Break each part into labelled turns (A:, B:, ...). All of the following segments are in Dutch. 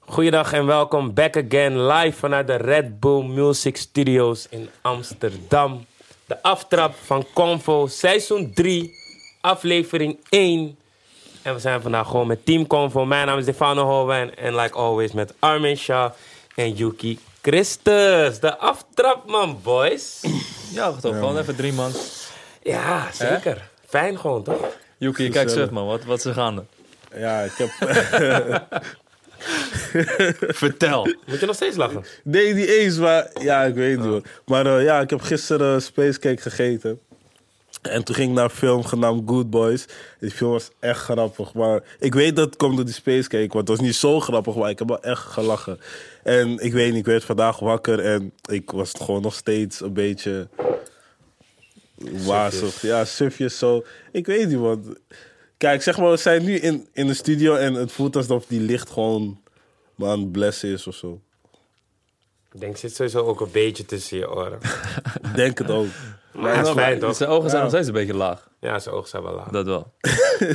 A: Goeiedag en welkom back again live vanuit de Red Bull Music Studios in Amsterdam. De aftrap van Convo, seizoen 3, aflevering 1. En we zijn vandaag gewoon met Team Convo. Mijn naam is Stefano Holwijn en like always met Armin Shah en Yuki Christus. De aftrap man, boys.
B: Ja, toch? gewoon even drie man.
A: Ja, zeker. Fijn gewoon, toch?
B: Yuki, kijk
C: Gezellig.
B: zet man, wat, wat is er gaande?
C: Ja, ik heb...
B: Vertel.
A: Moet je nog steeds lachen?
C: nee, niet eens, maar... Ja, ik weet niet hoor. Maar eh, ja, ik heb gisteren spacecake gegeten. En toen ging ik naar een film genaamd Good Boys. Die film was echt grappig. Maar ik weet dat het komt door die spacecake. Want het was niet zo grappig, maar ik heb wel echt gelachen. En ik weet niet, ik werd vandaag wakker en ik was gewoon nog steeds een beetje... Wazig. Ja, sufjes zo. Ik weet niet, want... Kijk, zeg maar, we zijn nu in, in de studio en het voelt alsof die licht gewoon... Maar aan het blessen is of zo.
A: Ik denk, zit sowieso ook een beetje tussen je oren.
C: Denk het ook.
A: Maar het is fijn, toch?
B: Zijn Dus ogen zijn nog steeds een beetje laag.
A: Ja, zijn ogen zijn wel laag.
B: Dat wel.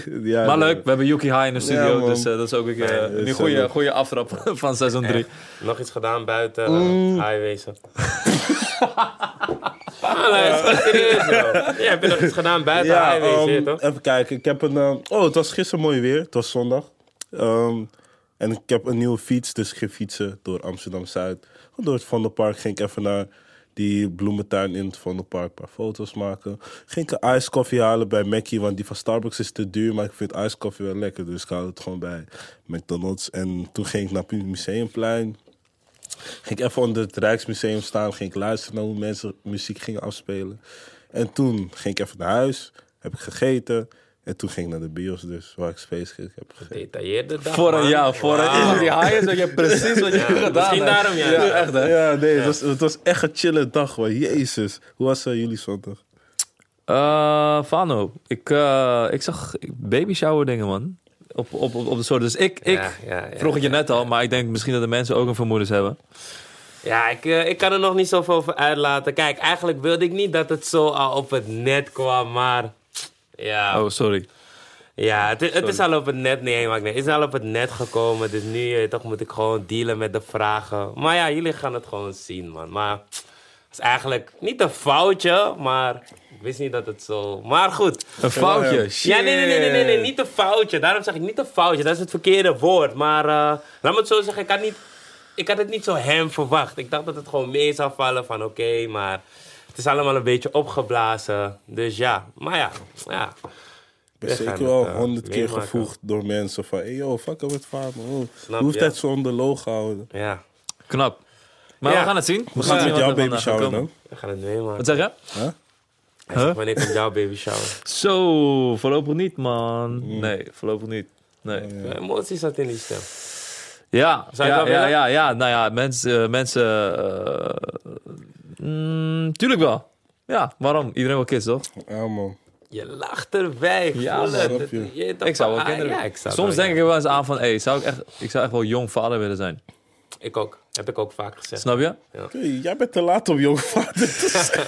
C: Ja,
B: Maar
C: nee.
B: leuk, we hebben Yuki High in de studio,
C: Ja, man.
B: dus eh, dat is ook weer, eh,
C: is
B: een
C: zo
B: goede,
C: leuk.
B: goede aftrap van seizoen 3.
A: Nog iets gedaan buiten eh,
B: Mm.
A: highwaysen? Maar luister, serieus bro. Ja, heb je nog iets gedaan buiten
C: Ja,
A: highwaysen,
C: ehm,
A: je toch?
C: even kijken. Ik heb een... ehm, oh, het was gisteren mooi weer. Het was zondag. Ehm, en ik heb een nieuwe fiets, dus ik ging fietsen door Amsterdam-Zuid. Door het Vondelpark ging ik even naar die bloementuin in het Vondelpark. Een paar foto's maken. Ging ik een iced coffee halen bij Mackie, want die van Starbucks is te duur. Maar ik vind iced coffee wel lekker, dus ik haal het gewoon bij McDonald's. En toen ging ik naar het Museumplein. ging ik even onder het Rijksmuseum staan. Ging ik luisteren naar hoe mensen muziek gingen afspelen. En toen ging ik even naar huis. Heb ik gegeten. En toen ging ik naar de bios dus, waar ik Spacecake heb gegeten.
A: Gedetailleerde dag,
B: Voor een
A: man.
B: jaar, voor een
A: Wauw.
B: Yuki High is dat je precies wat je hebt gedaan
A: misschien
B: hebt.
A: daarom, ja.
B: echt hè.
C: Ja, nee, Het, was, het was echt een chille dag, hoor. Jezus. Hoe was eh, jullie zondag?
B: Eh, Fano, ik, eh, ik zag baby shower dingen man. Op, op, op, op de soort. Dus ik, ik
A: Ja, ja, ja,
B: vroeg het je net al, maar ik denk misschien dat de mensen ook een vermoedens hebben.
A: Ja, ik, eh, ik kan er nog niet zoveel over uitlaten. Kijk, eigenlijk wilde ik niet dat het zo al op het net kwam, maar... Ja,
B: Oh, sorry.
A: ja het, is- het is al op het net. Nee, maar nee, het is al op het net gekomen. Dus nu eh, toch moet ik gewoon dealen met de vragen. Maar ja, jullie gaan het gewoon zien, man. Maar het is eigenlijk niet een foutje, maar ik wist niet dat het zo... Maar goed.
B: Een foutje. Shit.
A: Ja, nee, nee, nee, nee, nee, nee, niet een foutje. Daarom zeg ik niet een foutje. Dat is het verkeerde woord. Maar eh, laat me het zo zeggen, ik had, niet, ik had het niet zo hem verwacht. Ik dacht dat het gewoon mee zou vallen van oké, maar het is allemaal een beetje opgeblazen. Dus ja, maar ja, ja.
C: Ik
A: We
C: ben
A: gaan
C: zeker
A: het,
C: wel
A: eh,
C: honderd keer
A: meemaken.
C: gevoegd door mensen van... Hey, yo, fuck up met Fabio. Oh,
A: Snap,
C: hoe heeft
A: ja.
C: hij het zo onder loog gehouden?
A: Ja,
B: Knap. Maar
A: Ja.
B: we gaan het zien. We
C: Hoe gaat het
B: zien
C: met
B: wat
C: jouw
B: er
C: baby
B: vandaag gaat
C: shower
B: komen.
C: dan?
A: we gaan het meemaken.
B: Wat zeg je?
A: Hij zegt, Wanneer komt jouw baby shower?
B: Zo, voorlopig niet, man. Nee, voorlopig niet. Nee.
A: De emotie zat in die stem.
B: Ja,
A: Zou je
B: ja,
A: dat
B: ja,
A: willen?
B: ja, ja, nou ja, mensen, eh, mensen eh, mm, tuurlijk wel. Ja, waarom? Iedereen wil kids, toch?
C: Ja, man.
A: Je lacht erbij.
B: Ja,
A: voel het.
C: snap
A: Het-
C: je.
A: je toch
B: Ik zou wel
A: van, ah,
B: kinderen
A: ja,
B: willen.
A: ik zou
B: Soms
A: wel,
B: denk ik er wel eens aan van, hé, zou ik, echt, ik zou echt wel jong vader willen zijn.
A: ja. Ik ook. Heb ik ook vaak gezegd.
B: Snap je?
C: Hey, jij bent te laat om jong vader te zijn.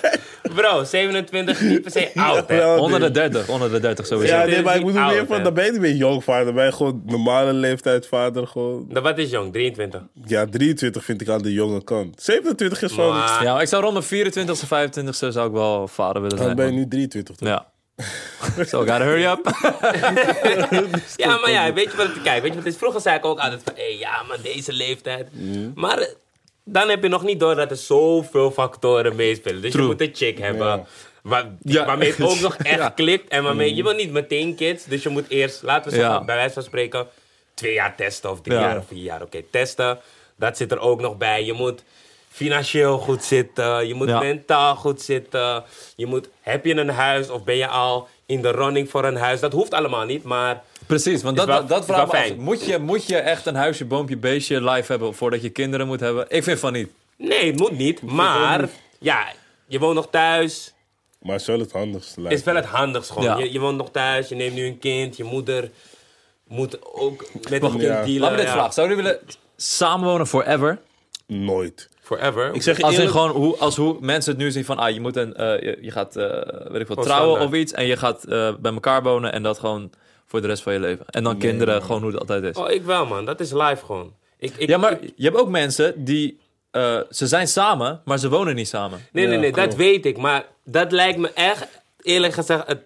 A: Bro, 27, niet per se oud, hè?
C: Jawel,
B: Onder de
C: nee.
B: 30, onder de 30 sowieso.
C: Ja,
A: dit
C: nee,
A: is
C: maar ik
A: niet
C: bedoel
A: oud,
C: meer
A: hè?
C: van... Dan ben je niet meer jong vader. Ben je gewoon normale leeftijd vader. Gewoon...
A: Nou, Wat is jong? 23.
C: Ja, 23 vind ik aan de jonge kant. 27 is van...
A: Maar-
B: Ja, maar ik zou rond mijn 24ste, 25ste zou ik wel vader willen zijn.
C: Dan ben je
B: man.
C: nu 23 toch?
B: Ja. so, gotta hurry up.
A: Ja, maar ja, weet je wat het kijk, weet je wat het is? Vroeger zei ik ook altijd van, hé, ja, maar deze leeftijd. Maar eh, dan heb je nog niet door dat er zoveel factoren meespelen. Dus je
B: True.
A: moet een chick hebben.
C: Ja.
A: waar-
B: Ja.
A: Waarmee het ook nog echt
B: Ja. Mm.
A: klikt. En waarmee je wil niet meteen kids. Dus je moet eerst, laten we zeggen,
B: Ja.
A: bij wijze van spreken, twee jaar testen. Of drie
B: Ja.
A: jaar of vier jaar. Oké, testen. Dat zit er ook nog bij. Je moet financieel goed zitten. Je moet
B: Ja.
A: mentaal goed zitten. Je moet, heb je een huis of ben je al in de running voor een huis? Dat hoeft allemaal niet, maar...
B: Precies, want
A: Is
B: dat,
A: wel-
B: dat
A: is wel
B: vraag me af.
A: fijn.
B: Moet je, moet je echt een huisje, boompje, beestje live hebben voordat je kinderen moet hebben? Ik vind van niet.
A: Nee, het moet niet. Maar ja, je woont nog thuis.
C: Maar het is wel het handigste. lijkt
A: Is wel het handigst gewoon.
B: Ja.
A: Je, je woont nog thuis, je neemt nu een kind, je moeder moet ook met een kind
C: ja.
A: dealen.
B: Laat me dit
A: ja.
B: vragen. Zouden jullie willen samenwonen forever?
C: me. Nooit.
A: Forever.
C: Ik zeg je
B: Als, in
C: eerlijk,
B: gewoon hoe, als hoe mensen het nu zien van... Ah, je, moet een, eh, je, je gaat eh, weet ik wat,
A: Gewoon
B: trouwen
A: standaard.
B: of iets... en je gaat eh, bij elkaar wonen en dat gewoon voor de rest van je leven. En dan kinderen, gewoon hoe het altijd is.
A: Oh, ik wel man, dat is live gewoon. Ik, ik,
B: Ja, maar je hebt ook mensen die... eh, ze zijn samen, maar ze wonen niet samen.
A: Nee, nee,
C: Ja,
A: nee, dat
C: klopt.
A: weet ik. Maar dat lijkt me echt, eerlijk gezegd, het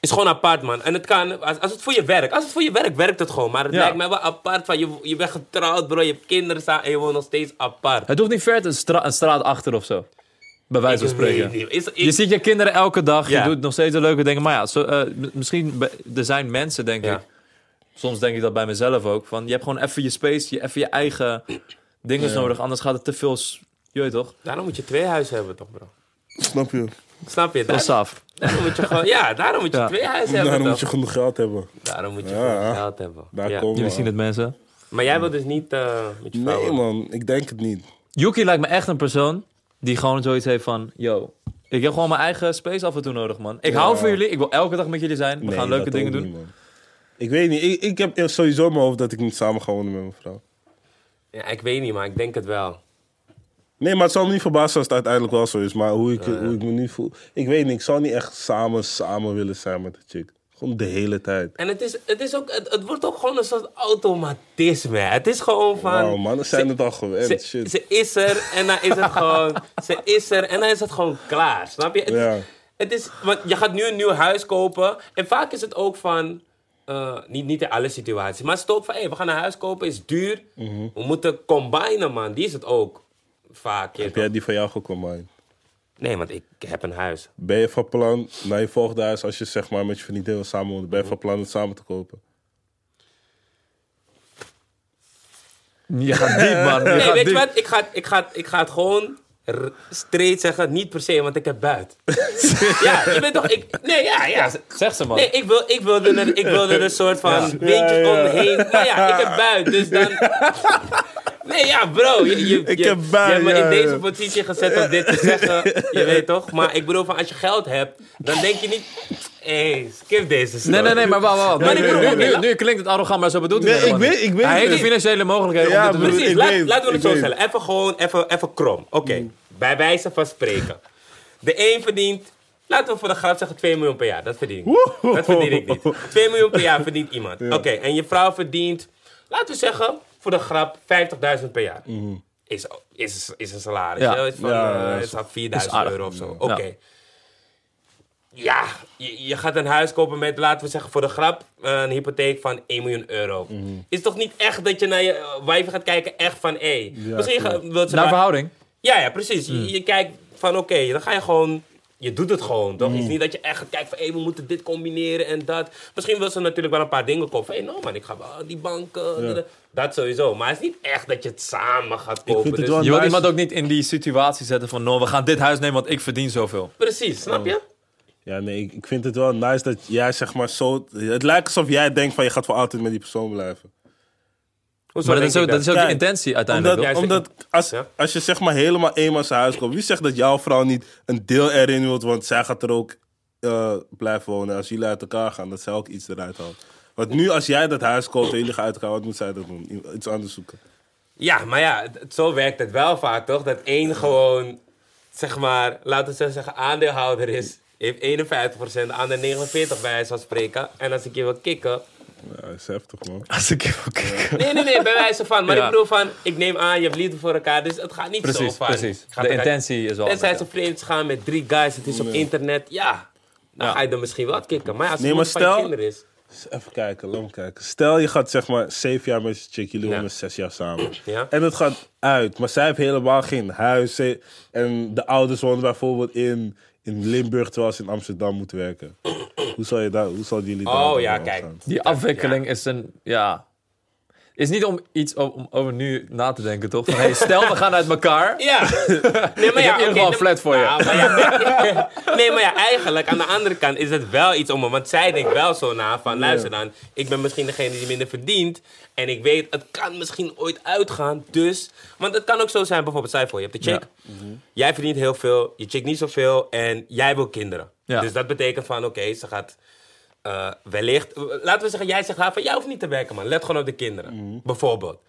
A: is gewoon apart, man. En het kan, als, als het voor je werkt, als het voor je werkt, werkt het gewoon. Maar het
B: Ja.
A: lijkt me wel apart van, je, je bent getrouwd, bro, je hebt kinderen staan en je woont nog steeds apart.
B: Het hoeft niet ver te stra- een straat achter of zo. Bij wijze van
A: Ik weet
B: spreken.
A: niet. Is, is-
B: Je ziet je kinderen elke dag,
A: Ja.
B: je doet nog steeds de leuke dingen. Maar ja, zo, eh, m- misschien, be- er zijn mensen, denk
A: Ja.
B: ik. Soms denk ik dat bij mezelf ook. Van, je hebt gewoon even je space, je, even je eigen dingen nodig. Anders gaat het te veel... s- Je weet toch?
A: Daarom moet je twee huizen hebben, toch, bro?
C: Snap je?
A: Snap je?
B: Van
A: Daar,
B: Saf.
A: daarom moet je gewoon, ja, daarom moet je
B: Ja.
A: twee huizen hebben,
C: Daarom Nou, moet
A: toch?
C: je genoeg geld hebben.
A: Daarom moet je
C: Ja.
A: gewoon geld hebben.
C: Daar
A: Ja.
C: komen
B: Jullie
C: we
B: zien
C: aan.
B: het, mensen.
A: Maar jij wil dus niet eh, met je vrouw...
C: Nee, man. Ik denk het niet.
B: Yuki lijkt me echt een persoon die gewoon zoiets heeft van... Yo, ik heb gewoon mijn eigen space af en toe nodig, man. Ik hou van jullie, ik wil elke dag met jullie zijn. We
C: Nee,
B: gaan leuke
C: dat
B: dingen
C: ook
B: doen.
C: niet, man. Ik weet niet. Ik, ik heb sowieso in mijn hoofd dat ik niet samen ga wonen met mijn vrouw.
A: Ja, ik weet niet, maar ik denk het wel.
C: Nee, maar het zal me niet verbazen als het uiteindelijk wel zo is. Maar hoe ik, hoe ik me nu voel... Ik weet niet. Ik zou niet echt samen, samen willen zijn met de chick. Gewoon de hele tijd.
A: En het, is, het, is ook, het, het wordt ook gewoon een soort automatisme. Het is gewoon van...
C: Wauw, mannen zijn het al gewend.
A: Ze,
C: Shit.
A: ze is er en dan is het gewoon. Ze is er en dan is het gewoon klaar. Snap je? Het,
C: Ja.
A: is, het is. Want je gaat nu een nieuw huis kopen. En vaak is het ook van. eh, niet, niet in alle situaties. Maar het is ook van. hey, we gaan een huis kopen, is duur.
C: Mhm.
A: We moeten combinen, man. Die is het ook. Vaak. je
C: Heb
A: toch?
C: jij die van jou gekomen?
A: Nee, want ik heb een huis.
C: Ben je van plan, naar je volgende huis, als je zeg maar met je vriendin wil samenwonen, ben je van plan het samen te kopen?
B: Je gaat diep, man. Je
A: Nee,
B: gaat
A: weet je
B: diep.
A: wat? Ik ga, ik ga, ik ga het gewoon r- straight zeggen. Niet per se, want ik heb buit. ja, je bent toch. Ik, nee, ja, ja.
B: Zeg ze, man.
A: Nee, ik, wil, ik, wilde er, ik wilde er een soort van
C: Ja,
A: beetje
C: ja.
A: omheen. Nou ja, ik heb buit, dus dan... Nee, ja, bro. Je, je,
C: Ik
A: je-
C: heb buit,
A: Je hebt me
C: ja,
A: in
C: ja.
A: deze positie gezet om dit te zeggen. Je weet toch? Maar ik bedoel, van, als je geld hebt, dan denk je niet... Hé, skip deze story.
B: Nee, nee, nee, maar wauw, wauw.
A: Maar
B: Nu,
A: ik bedoel-
B: nu, nu, nu klinkt het arrogant, maar zo bedoelt hij
C: Nee,
B: het
C: ik
B: helemaal
C: weet-
B: niet.
C: ik weet
B: Hij heeft de
C: het.
B: financiële mogelijkheden
C: Ja,
B: om dit te
C: broer.
B: doen.
A: Precies,
C: Ik
A: laat,
C: weet,
A: laten we het
C: ik
A: zo
C: weet.
A: stellen. Even gewoon, even, even krom. Oké, bij wijze van spreken. De een verdient, laten we voor de grap zeggen, 2 miljoen per jaar. Dat verdien ik niet.
C: Woehoe.
A: Dat verdien ik niet. 2 miljoen per jaar verdient iemand. Oké, en je vrouw verdient, laten we zeggen, voor de grap 50.000 per jaar. Is, is, is een salaris.
B: Ja.
A: Ja. Is van,
C: Ja,
A: eh,
C: ja,
A: is van 4000
B: aardig.
A: euro of zo. Oké.
B: Ja.
A: Ja, je, je gaat een huis kopen met, laten we zeggen voor de grap, een hypotheek van 1 miljoen euro.
C: Mhm.
A: Is toch niet echt dat je naar je eh, wijven gaat kijken, echt van hé. misschien ga- wilt ze.
B: Naar
A: maar-
B: verhouding.
A: ja, ja, precies.
C: Mhm.
A: Je- Je, kijkt van oké, dan ga je gewoon. Je doet het gewoon, toch?
C: Mhm.
A: Het is niet dat je echt gaat kijken van hé, we moeten dit combineren en dat. Misschien wil ze natuurlijk wel een paar dingen kopen. Hé, nou man, ik ga wel die banken. dat- Dat sowieso. Maar het is niet echt dat je het samen gaat kopen.
C: vind het
A: dus-
C: wel
B: Je wil
C: Maar
B: iemand
C: is-
B: ook niet in die situatie zetten van... No, we gaan dit huis nemen, want ik verdien zoveel.
A: Precies, snap je?
C: Ja, nee, ik, ik vind het wel nice dat jij zeg maar zo... Het lijkt alsof jij denkt van je gaat voor altijd met die persoon blijven.
A: Hoezo
B: Maar dat
A: denk
B: is ook,
A: ik
B: dat is ook je
C: Kijk,
B: intentie uiteindelijk.
C: Omdat,
B: toch?
A: Ja, zeker.
C: omdat als,
A: Ja.
C: als je zeg maar helemaal eenmaal zijn huis komt, wie zegt dat jouw vrouw niet een deel erin wilt, want zij gaat er ook eh, blijven wonen. Als jullie uit elkaar gaan, dat zij ook iets eruit haalt. Want nu als jij dat huis koopt en jullie gaan uit elkaar, wat moet zij dat doen? I- Iets anders zoeken.
A: Ja, maar ja, het- het- zo werkt het wel vaak, toch? Dat één gewoon, zeg maar, laten we zo zeggen, aandeelhouder is. Heeft 51%, de ander 49% bij wijze van spreken. En als ik je wil kicken...
C: Ja, dat is heftig man.
B: Als ik even kijk.
A: Nee, nee, nee, bij wijze van. Maar
B: Ja.
A: ik bedoel van, ik neem aan, je hebt liefde voor elkaar. Dus het gaat niet zo
B: Precies,
A: van...
B: precies.
A: Gaat
B: De
A: elkaar-
B: intentie is wel...
A: Tenzij
B: anders,
A: ze vreemd gaan met drie guys, het is op internet. Ja, dan
B: Ja.
A: ga je er misschien wel kicken. Maar ja, als het
C: Nee,
A: nee,
C: maar
A: van je
C: stel-
A: kinderen is...
C: Dus Even kijken, laat me kijken. Stel je gaat zeg maar zeven jaar met je chick, jullie
A: Ja.
C: wonen zes jaar samen.
A: Ja.
C: En het gaat uit, maar zij heeft helemaal geen huis. Ze- En de ouders wonen bijvoorbeeld in, in Limburg, terwijl ze in Amsterdam moeten werken. Hoe zal, je daar, hoe zal jullie daar
A: Oh
C: dan
A: ja,
C: mee
A: kijk.
C: omgaan?
B: Die afwikkeling is een... Ja. Is niet om iets o- om over nu na te denken, toch? Van, hey, stel, we gaan uit elkaar.
A: Ja. Nee, maar ja, oké,
B: in ieder geval een
A: nee,
B: flat voor je.
A: ja, maar ja, nee, maar ja, eigenlijk aan de andere kant is het wel iets om me. Want zij denkt wel zo na van, luister dan, ik ben misschien degene die minder verdient. En ik weet, het kan misschien ooit uitgaan, dus... Want het kan ook zo zijn, bijvoorbeeld, zij voor je hebt de chick.
B: Mhm.
A: Jij verdient heel veel, je chick niet zoveel en jij wil kinderen.
B: Ja.
A: Dus dat betekent van, oké, ze gaat... eh, wellicht, laten we zeggen, jij zegt haar van, jij hoeft niet te werken man, let gewoon op de kinderen.
B: Mhm.
A: Bijvoorbeeld.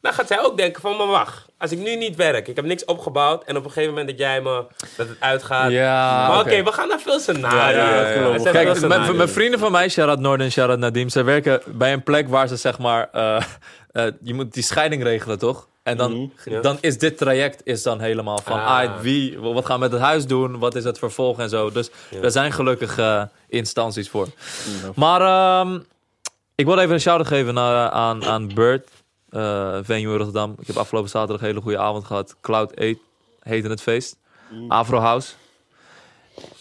A: Dan gaat zij ook denken van, maar wacht, als ik nu niet werk, ik heb niks opgebouwd en op een gegeven moment dat jij me, dat het uitgaat.
B: Ja,
A: maar oké,
B: oké.
A: we gaan naar veel scenario's.
B: Ja,
C: ja,
A: Er
C: ja.
A: zijn
C: Kijk,
A: veel
B: Kijk, mijn-
A: scenario's. Nou,
B: mijn vrienden van mij, Sharad Noord en Sharad Nadim, zij werken bij een plek waar ze zeg maar eh, eh, je moet die scheiding regelen, toch? En dan,
A: Mhm, Ja.
B: dan is dit traject is dan helemaal van,
A: Ah.
B: ah, wie, wat gaan we met het huis doen? Wat is het vervolg en zo? Dus daar zijn gelukkig eh, instanties voor. Maar ehm, ik wil even een shout-out geven naar, aan, aan Bert, eh Venue in Rotterdam. Ik heb afgelopen zaterdag een hele goede avond gehad. Cloud 8 heette het feest.
A: Mhm.
B: Afro House.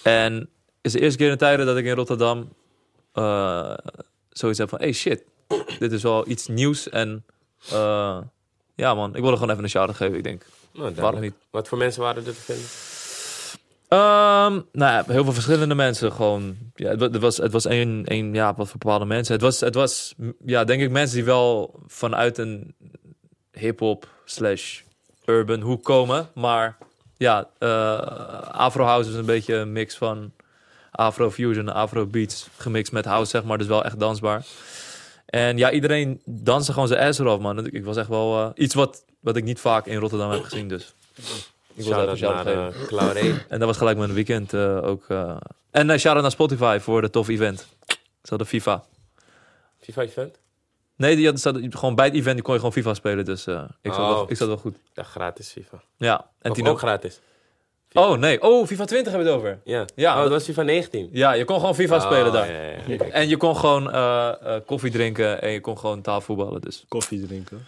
B: En het is de eerste keer in tijden dat ik in Rotterdam eh, zoiets heb van... Hey shit, dit is wel iets nieuws. En eh, ja man, ik wilde gewoon even een shout-out geven. Ik denk,
A: Nou,
B: waarom
A: duidelijk.
B: niet?
A: Wat voor mensen waren er te vinden?
B: Ehm, nou ja, heel veel verschillende mensen gewoon. Ja, het, wa- het was, het was één, één, ja, wat voor bepaalde mensen. Het was, het was, m, ja, denk ik mensen die wel vanuit een hip-hop slash urban hoek komen. Maar ja, eh, Afro House is een beetje een mix van Afro Fusion, Afro Beats, gemixt met house, zeg maar. Dus wel echt dansbaar. En ja, iedereen danste gewoon zijn ass eraf, man. Ik, ik was echt wel eh, iets wat, wat ik niet vaak in Rotterdam heb gezien, dus. Ik wil dat even
A: Shout-out
B: shout
A: naar
B: geven.
A: eh, Claudé.
B: En dat was gelijk mijn weekend eh, ook. eh. En eh shout-out naar Spotify voor het tof event. Ze hadden FIFA.
A: FIFA event?
B: Nee, die hadden, ze hadden- gewoon bij het event die kon je gewoon FIFA spelen. Dus eh, ik, zat wel,
A: Oh.
B: ik zat wel goed.
A: Ja, gratis FIFA.
B: Ja, en
A: En
B: Tino.
A: ook gratis.
B: Oh nee, oh FIFA 20 hebben we het over.
A: Ja.
B: Ja,
A: ja oh,
B: dat-
A: dat was FIFA 19.
B: Ja, je kon gewoon FIFA spelen
A: Oh,
B: daar.
A: ja, ja, ja.
B: En je kon gewoon eh, eh, koffie drinken en je kon gewoon tafelvoetballen. Dus
C: Koffie drinken.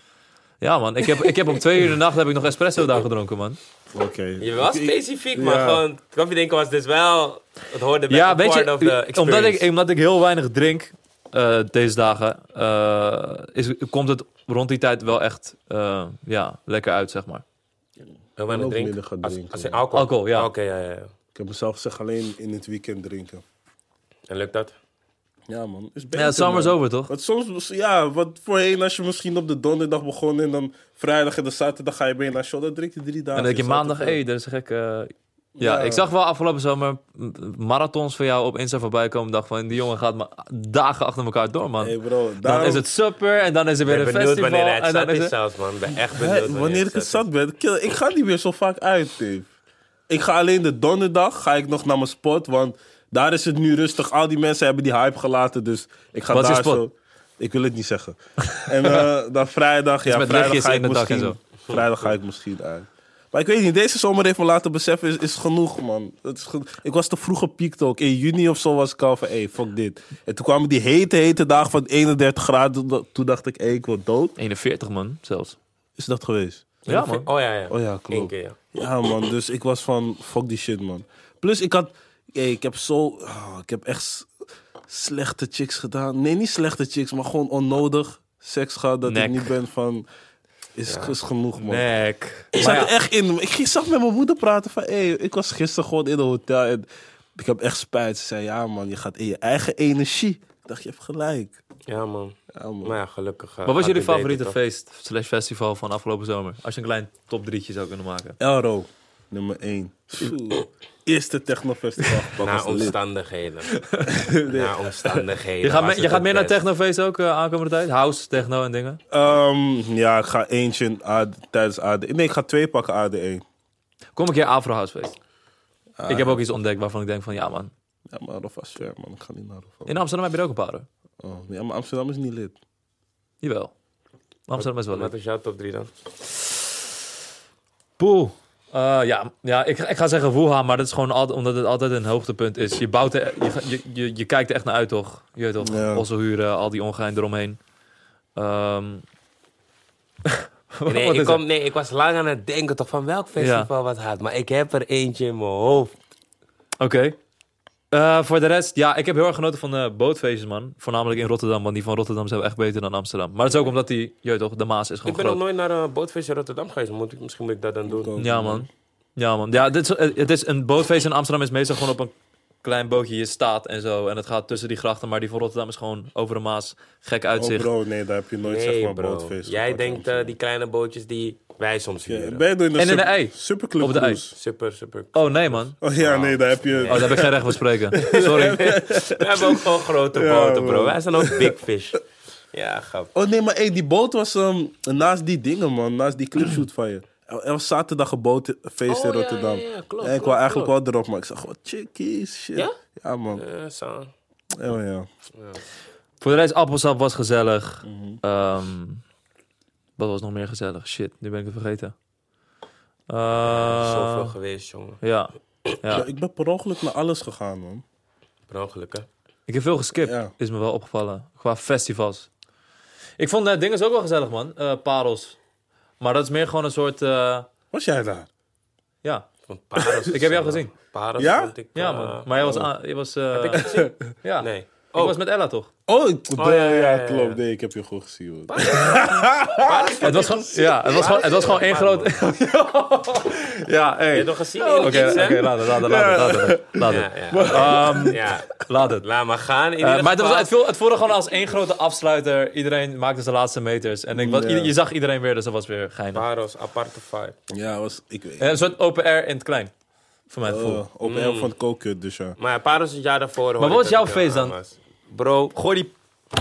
B: ja, man, ik heb, ik heb om twee uur in de nacht heb ik nog espresso daar gedronken, man.
C: Oké.
A: Je was
C: Ik- ik-
A: specifiek, maar
C: ja.
A: gewoon... Koffie denken was dus wel... Het hoorde bij
B: ja,
A: een
B: weet
A: part of the
B: je,
A: experience.
B: omdat ik, omdat ik heel weinig drink eh, deze dagen, eh, is, komt het rond die tijd wel echt eh, ja, lekker uit, zeg maar.
A: Heel weinig
C: ook
A: drink.
C: minder gaan
A: Als-
C: drinken,
A: Als,
C: man.
A: in alcohol?
B: Alcohol, ja.
A: Ah, Oké, ja, ja, ja.
C: Ik heb mezelf gezegd alleen in het weekend drinken.
A: En lukt dat?
C: Ja, man. Is beter,
B: Ja, summer's
C: man.
B: over, toch?
C: Want soms, ja, wat voorheen als je misschien op de donderdag begon en dan vrijdag en dan zaterdag ga je mee naar show, dan drink je drie dagen.
B: En dat je
C: Is
B: maandag, hé,
C: altijd
B: dat is gek. eh, ja,
C: Ja.
B: ik zag wel afgelopen zomer m- marathons van jou op Insta voorbij komen. dacht van, die jongen gaat maar dagen achter elkaar door, man.
C: goed. Hey bro,
B: dan
C: daarom,
B: is het supper en dan is er weer
A: ben
B: een
A: benieuwd
B: festival.
A: wanneer hij het
B: en dan
A: zat
B: is
A: is
B: het-
A: zelfs, man. Ik ben echt
C: Hè,
A: benieuwd wanneer,
C: wanneer ik het
A: is.
C: zat ben, kill, ik ga niet meer zo vaak uit, Dave. Ik ga alleen de donderdag ga ik nog naar mijn spot, want daar is het nu rustig. Al die mensen hebben die hype gelaten, dus ik ga
B: Wat is
C: daar
B: je spot?
C: zo. Ik wil het niet zeggen. En eh, dan vrijdag, ja,
B: met
C: vrijdag
B: lichtjes
C: ga ik
B: in het dak en
C: misschien. Vrijdag ga ik misschien uit. Maar ik weet niet, deze zomer heeft me laten beseffen, is, is genoeg, man. Het is geno- ik was te vroeg gepiekt ook. In juni of zo was ik al van, hey, fuck dit. En toen kwamen die hete, hete dagen van 31 graden. Toen dacht ik, hé, ik word dood.
B: 41, man, zelfs.
C: Is dat geweest?
B: Ja, man.
A: Oh ja, ja.
C: Oh ja,
A: Eén
C: klopt.
A: keer, ja.
C: Ja, man, dus ik was van fuck die shit, man. Plus, ik had. Hey, ik heb zo. ah, ik heb echt s- slechte chicks gedaan. Nee, niet slechte chicks, maar gewoon onnodig seks gehad. Dat
B: Nek.
C: ik niet ben van. Is, is genoeg, man.
A: Oh,
B: Nek.
C: Ik zat er echt in. Ik ging- zag met mijn moeder praten van. Hey, ik was gisteren gewoon in een hotel. En ik heb echt spijt. Ze zei: Ja, man, je gaat in je eigen energie. Ik dacht, je hebt gelijk.
A: Ja, man.
C: Ja, man.
A: Maar ja, gelukkig. eh,
B: Wat was
A: gaat
B: jullie
A: het beter,
B: favoriete
A: toch?
B: feest slash festival van afgelopen zomer? Als je een klein top drietje zou kunnen maken.
C: Elro, nummer 1. Eerste technofestival gepakt.
A: Na
C: was lit.
A: omstandigheden. Na omstandigheden.
B: Je gaat,
A: was
B: me-
A: het
B: je gaat
A: het
B: meer naar
A: best.
B: technofeest ook eh, aankomende tijd? House, techno en dingen?
C: Ehm, ja, ik ga eentje in AD, tijdens AD. Nee, ik ga twee pakken AD1.
B: Kom een keer Afro House feest.
A: Eh,
B: ik heb ook iets ontdekt waarvan ik denk van, ja man.
C: Ja, maar Rofa is ver, man. Ik ga niet naar Rofa.
B: In Amsterdam heb je er ook een paar hoor.
C: Oh, nee, maar Amsterdam is niet lid.
B: Jawel. Amsterdam is wel leuk.
A: Wat is jouw top 3 dan?
B: Poeh. Eh, ja, ja ik, ik ga zeggen Wuha, maar dat is gewoon altijd, omdat het altijd een hoogtepunt is. Je, bouwt er, je, ga- je, je, je kijkt er echt naar uit, toch? Je weet toch,
C: Ja.
B: osselhuren, al die ongein eromheen. Ehm Wat
A: Nee
B: is
A: ik,
B: het?
A: kom, nee, ik was lang aan het denken toch van welk festival wat had. Maar ik heb er eentje in mijn hoofd.
B: Oké. Eh, voor de rest, ja, ik heb heel erg genoten van de bootfeestjes, man. Voornamelijk in Rotterdam, want die van Rotterdam zijn wel echt beter dan Amsterdam. Maar dat is ook omdat die, je weet toch, de Maas is gewoon
A: Ik ben
B: groot.
A: nog nooit naar een bootfeest in Rotterdam geweest. Moet ik, misschien moet ik dat dan doen.
B: Ja, man. Ja, man. Ja, dit is, eh, het is een bootfeest in Amsterdam is meestal gewoon op een klein bootje. Je staat en zo. En het gaat tussen die grachten. Maar die van Rotterdam is gewoon over de Maas. Gek
C: Oh,
B: uitzicht.
C: bro, nee, daar heb je nooit zeg
A: Nee,
C: maar
A: bro.
C: broodfeest.
A: Jij
C: gepakt in
A: denkt eh, die kleine bootjes die wij soms
C: Amsterdam.
A: huren.
C: Ben je door in de,
B: En in de
C: super-
B: ei.
C: Superclub
B: Op de ei.
C: Cruise?
A: Super, super.
B: Oh, nee, man.
C: Oh ja, nee, daar heb je...
B: Oh, daar heb ik geen recht van spreken. Sorry.
A: We hebben ook gewoon grote
C: Ja,
A: boten, bro.
C: man.
A: Wij zijn ook big fish. Ja, grap.
C: Oh nee, maar hey, die boot was ehm, naast die dingen, man. Naast die clipshoot van je. Er er was zaterdag een bootfeest
A: Oh,
C: in
A: ja,
C: Rotterdam.
A: ja, ja, klopt,
C: en ik
A: klopt,
C: wou eigenlijk wel erop, maar ik zag wat chickies, shit.
A: Ja?
C: man.
A: Eh, zo.
C: Oh ja.
A: Mhm.
B: Voor de rest, appelsap was gezellig. Ehm, Wat was nog meer gezellig? Shit, nu ben ik het vergeten. Eh,
A: Zoveel geweest, jongen.
B: ja.
C: Ja,
B: ja.
C: ik ben per ongeluk naar alles gegaan, man.
A: Per ongeluk, hè?
B: Ik heb veel geskipt,
C: Ja.
B: is me wel opgevallen. Qua festivals. Ik vond dat ding is ook wel gezellig, man. Eh, parels. Maar dat is meer gewoon een soort... eh,
C: Was jij daar?
B: ja,
A: Ik vond Paros.
B: ik heb jou
A: eh,
B: gezien.
A: Paros
C: Ja?
A: vond ik...
B: Ja,
A: eh,
B: man. Maar jij was... aan- je was eh,
A: Heb ik gezien?
B: ja.
A: Nee.
B: Ik
A: Oh.
B: was met Ella, toch?
C: Oh, ik-
A: ja, ja, ja, ja.
C: klopt. Nee, ik heb je goed gezien, man. Ah!
B: Het was gewoon, ja, het was gewoon, het was gewoon één groot. ja, hey.
A: Heb je nog gezien? in
B: Oké,
A: de kids, hè?
B: oké, later, later, later, later. later.
A: Ja, ja.
B: Ehm,
A: ja,
B: laat het.
A: laat maar gaan. In
B: Eh,
A: ieder
B: maar het, was,
A: geval.
B: het, viel, het voelde gewoon als één grote afsluiter. Iedereen maakte zijn laatste meters. En ik, was,
C: Ja.
B: ieder- je zag iedereen weer, dus dat was weer geinig.
A: Paros, aparte vibe.
C: Ja, was, ik weet
B: En Eh, een soort open air in het klein. Voor mijn gevoel.
C: Eh, Oh, op elk van het koken, dus ja.
A: Maar ja, Paros het jaar daarvoor hoorde
B: wat
A: ik
B: was
A: dat
B: jouw
A: ik er
B: feest
A: aan
B: dan?
A: was. Bro,
B: Gooi die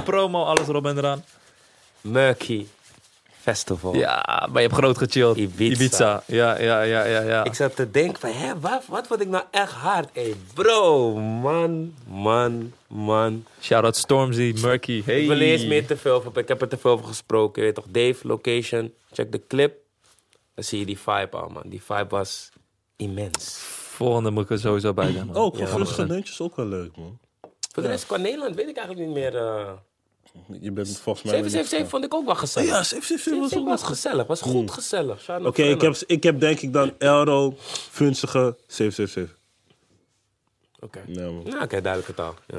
B: promo, alles erop en eraan.
A: Murky Festival.
B: Ja, maar je hebt groot gechilled.
A: Ibiza.
B: Ja, ja, ja, ja, ja.
A: Ik zat te denken van, hè, wat, wat word ik nou echt hard? Hé, bro, man, man, man.
B: Shout-out Stormzy, Murky. Hey.
A: Ik wil eens meer te veel over, ik heb er te veel over gesproken. Je weet toch, Dave, location, check de clip. Dan zie je die vibe al, man. Die vibe was immens.
B: Volgende moet ik er sowieso bij zijn, man.
C: Oh, gevoelige neuntjes ook wel leuk, man.
A: Voor de rest, qua Nederland weet ik eigenlijk niet meer. eh
C: Je bent volgens mij...
A: 777 vond ik ook wel gezellig.
C: Ja, 777 was ook wel
A: 777
C: Hmm.
A: was gezellig, was goed gezellig. Shout out
C: Oké,
A: Frenna.
C: ik, heb, ik heb denk ik dan Elro, Funzige, 777.
A: Oké.
C: Nee, man.
A: Nou, oké, duidelijke taal. Ja.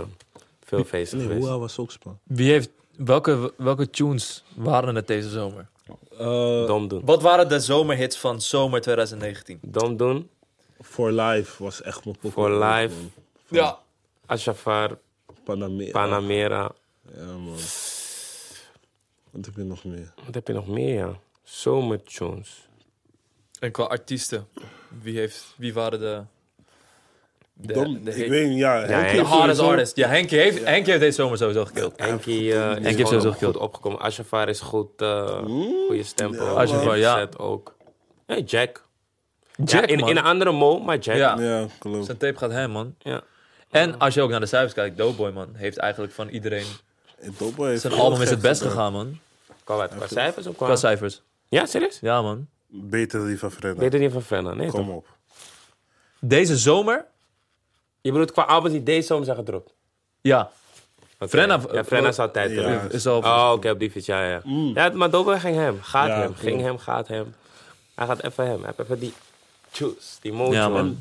A: Veel feesten
C: Nee,
A: geweest.
C: Hoa was ook span.
B: Wie heeft, welke, welke tunes waren het deze zomer?
A: Dom doen.
B: Wat waren de zomerhits van zomer 2019?
A: Dom doen,
C: For Life was echt mijn pokoe.
A: For Life,
B: Ja.
A: Ashafar,
C: Panamera.
A: Panamera.
C: Ja, man. Wat heb je nog meer?
A: Wat heb je nog meer, ja? Zomertunes.
B: En qua artiesten, wie, heeft, wie waren de... De,
C: Dom,
B: de,
C: ik weet niet, ja. Henk
A: Henk.
B: de
C: heeft
B: hardest
C: sowieso-
B: artist. Ja, Henkie heeft, Henkie heeft deze zomer sowieso gekild.
A: Enki eh, is gewoon
B: heeft sowieso
A: ook
B: gekild.
A: goed opgekomen. Ashafar is goed, eh goede stempel.
C: ja,
B: Ashafar,
A: Heeft
B: ja.
A: gezet ook. Hey, Jack.
B: Jack,
A: ja, in,
B: man.
A: in een andere mol, maar Jack.
B: Ja.
C: Ja, klopt.
B: Zijn tape gaat hem, man.
A: Ja.
B: En als je ook naar de cijfers kijkt, Doughboy, man, heeft eigenlijk van iedereen...
C: En Dobbo heeft
B: Zijn
C: heel
B: album is
C: gek
B: het best
C: gedaan.
B: gegaan, man.
A: Qua wat? Qua cijfers ook
B: Qua
A: qua...
B: cijfers.
A: Ja, serieus?
B: Ja, man.
C: Beter dan die van Frenna.
A: Weet het niet van Frenna, nee toch?
C: Kom op.
B: Deze zomer?
A: Je bedoelt qua albums die deze zomer zijn gedropt?
B: Ja.
A: Oké.
B: Frenna-
A: Ja, Mm. Frenna is altijd
C: Ja.
A: terug.
B: Is al...
A: Oh, oké, op die fiets, ja, ja. Ja, maar Dobber ging hem. Gaat
C: Ja,
A: hem.
C: klopt.
A: Ging hem, gaat hem. Hij gaat even hem. Hij heeft even die... Choose, die mojo.
B: Ja, man.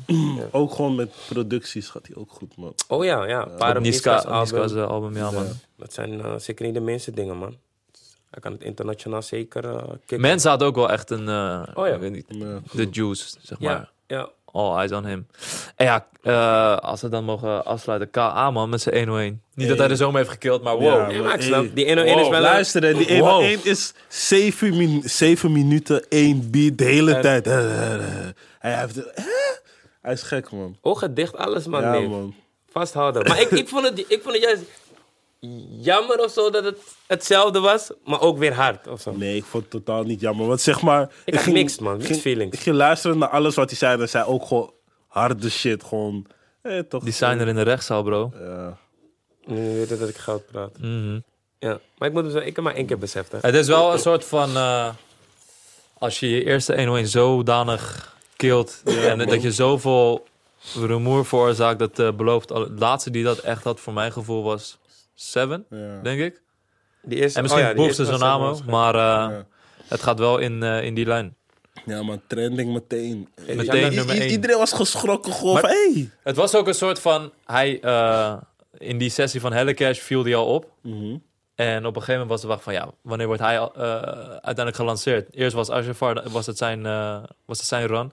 C: Ook gewoon met producties gaat hij ook goed, man.
A: Oh ja, ja. Paar
B: Op Niska's
A: album.
B: Niska's, eh, album, ja, man.
A: Dat zijn eh, zeker niet de minste dingen, man. Hij kan het internationaal zeker eh kicken.
B: Mensen had ook wel echt een. eh,
A: Oh ja.
B: ik weet niet,
C: Ja.
B: De juice, zeg maar. Oh,
A: Ja, ja.
B: All eyes on him. En ja, eh, als we dan mogen afsluiten. KA, man, met zijn 101. Niet dat hij de zomer heeft gekild, maar wow.
C: Ja.
A: Nee, maar ik
C: Hey.
A: snap, die 101 is
B: Wow,
A: wel...
C: Luister, hè, die 1
B: Wow.
C: 1 is 7, min 7 minuten 1 beat de hele tijd. Hij heeft... de- hè? Hij is gek, man.
A: Ogen dicht, alles, man.
C: Ja,
A: Oh, nee.
C: man.
A: Vasthouden. Maar ik, ik, vond het, ik vond het juist jammer of zo dat het hetzelfde was, maar ook weer hard of zo.
C: Nee, ik vond het totaal niet jammer. Want zeg maar...
A: had mixed, man. Mixed
C: ging-
A: feelings.
C: Ik ging luisteren naar alles wat hij zei. En hij zei ook gewoon harde shit. Gewoon... Eh, toch,
B: Designer in de rechtszaal, bro.
C: Ja.
A: Nu weet het dat ik goud praat.
B: Mhm.
A: Ja, maar ik moet hem zo, ik heb hem maar één keer beseft, hè.
B: Het is wel een soort van. eh, als je je eerste 101 zodanig kilt. en dat je zoveel rumoer veroorzaakt. Dat eh, belooft. al- Het laatste die dat echt had, voor mijn gevoel, was Seven,
C: Ja.
B: denk ik.
A: Die eerste,
B: En misschien
A: oh
B: oh
A: ja, die eerste
B: zijn
A: was
B: naam
A: helemaal
B: ook, Maar eh,
C: Ja.
B: het gaat wel in, eh, in die lijn.
C: ja, man. Trending meteen.
B: Meteen
C: Ja,
B: nummer
C: i- i-
B: één.
C: Iedereen was geschrokken gewoon
B: Maar-
C: van... Hey.
B: Het was ook een soort van. Hij, eh, in die sessie van Hellecash viel hij al op.
C: Mhm.
B: En op een gegeven moment was de wacht van ja, wanneer wordt hij al, eh, uiteindelijk gelanceerd? Eerst was Ashafar, da- was het zijn, eh, was het zijn run.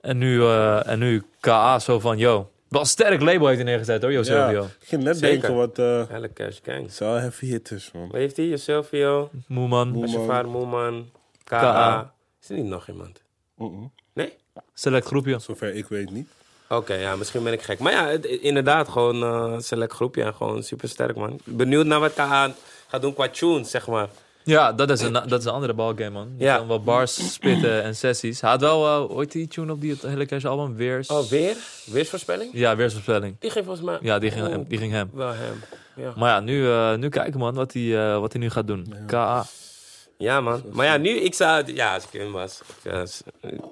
B: En, nu, eh, en nu KA zo van yo. Wel een sterk label heeft hij neergezet hoor, Yo
C: Ja,
B: Silvio.
C: ik ging net
A: Zeker.
C: denken wat... eh
A: Helle Cash Gang.
C: zou heavy hitters, man.
A: Wat heeft hij? Yourselfio,
B: Moe man.
C: Moe.
A: Ashafar, Moeman,
B: K.A..
A: K.A. Is er niet nog iemand?
C: Mm-mm.
A: Nee?
B: Select groepje.
C: Zover ik weet niet.
A: Oké, ja, misschien ben ik gek. Maar ja, het- inderdaad, gewoon eh select groepje en gewoon super sterk, man. Benieuwd naar wat K.A. gaat doen qua tunes, zeg maar.
B: Ja, dat is een, dat is een andere balgame man. Je
A: Ja.
B: kan wel bars spitten en sessies. Hij had wel eh, ooit die tune op die het Hellecash album, Weers.
A: Oh, weer? Weersvoorspelling?
B: Ja, Weersvoorspelling.
A: Die ging volgens mij...
B: Ja, die ging,
A: Oeh,
C: Oh.
B: hem, die ging hem.
A: Wel hem, ja.
B: Maar ja, nu, eh, nu kijken man wat hij eh, wat hij nu gaat doen. KA.
A: Ja, man. Maar ja, nu, ik zou... Ja, als ik hem was... ik, eh, s-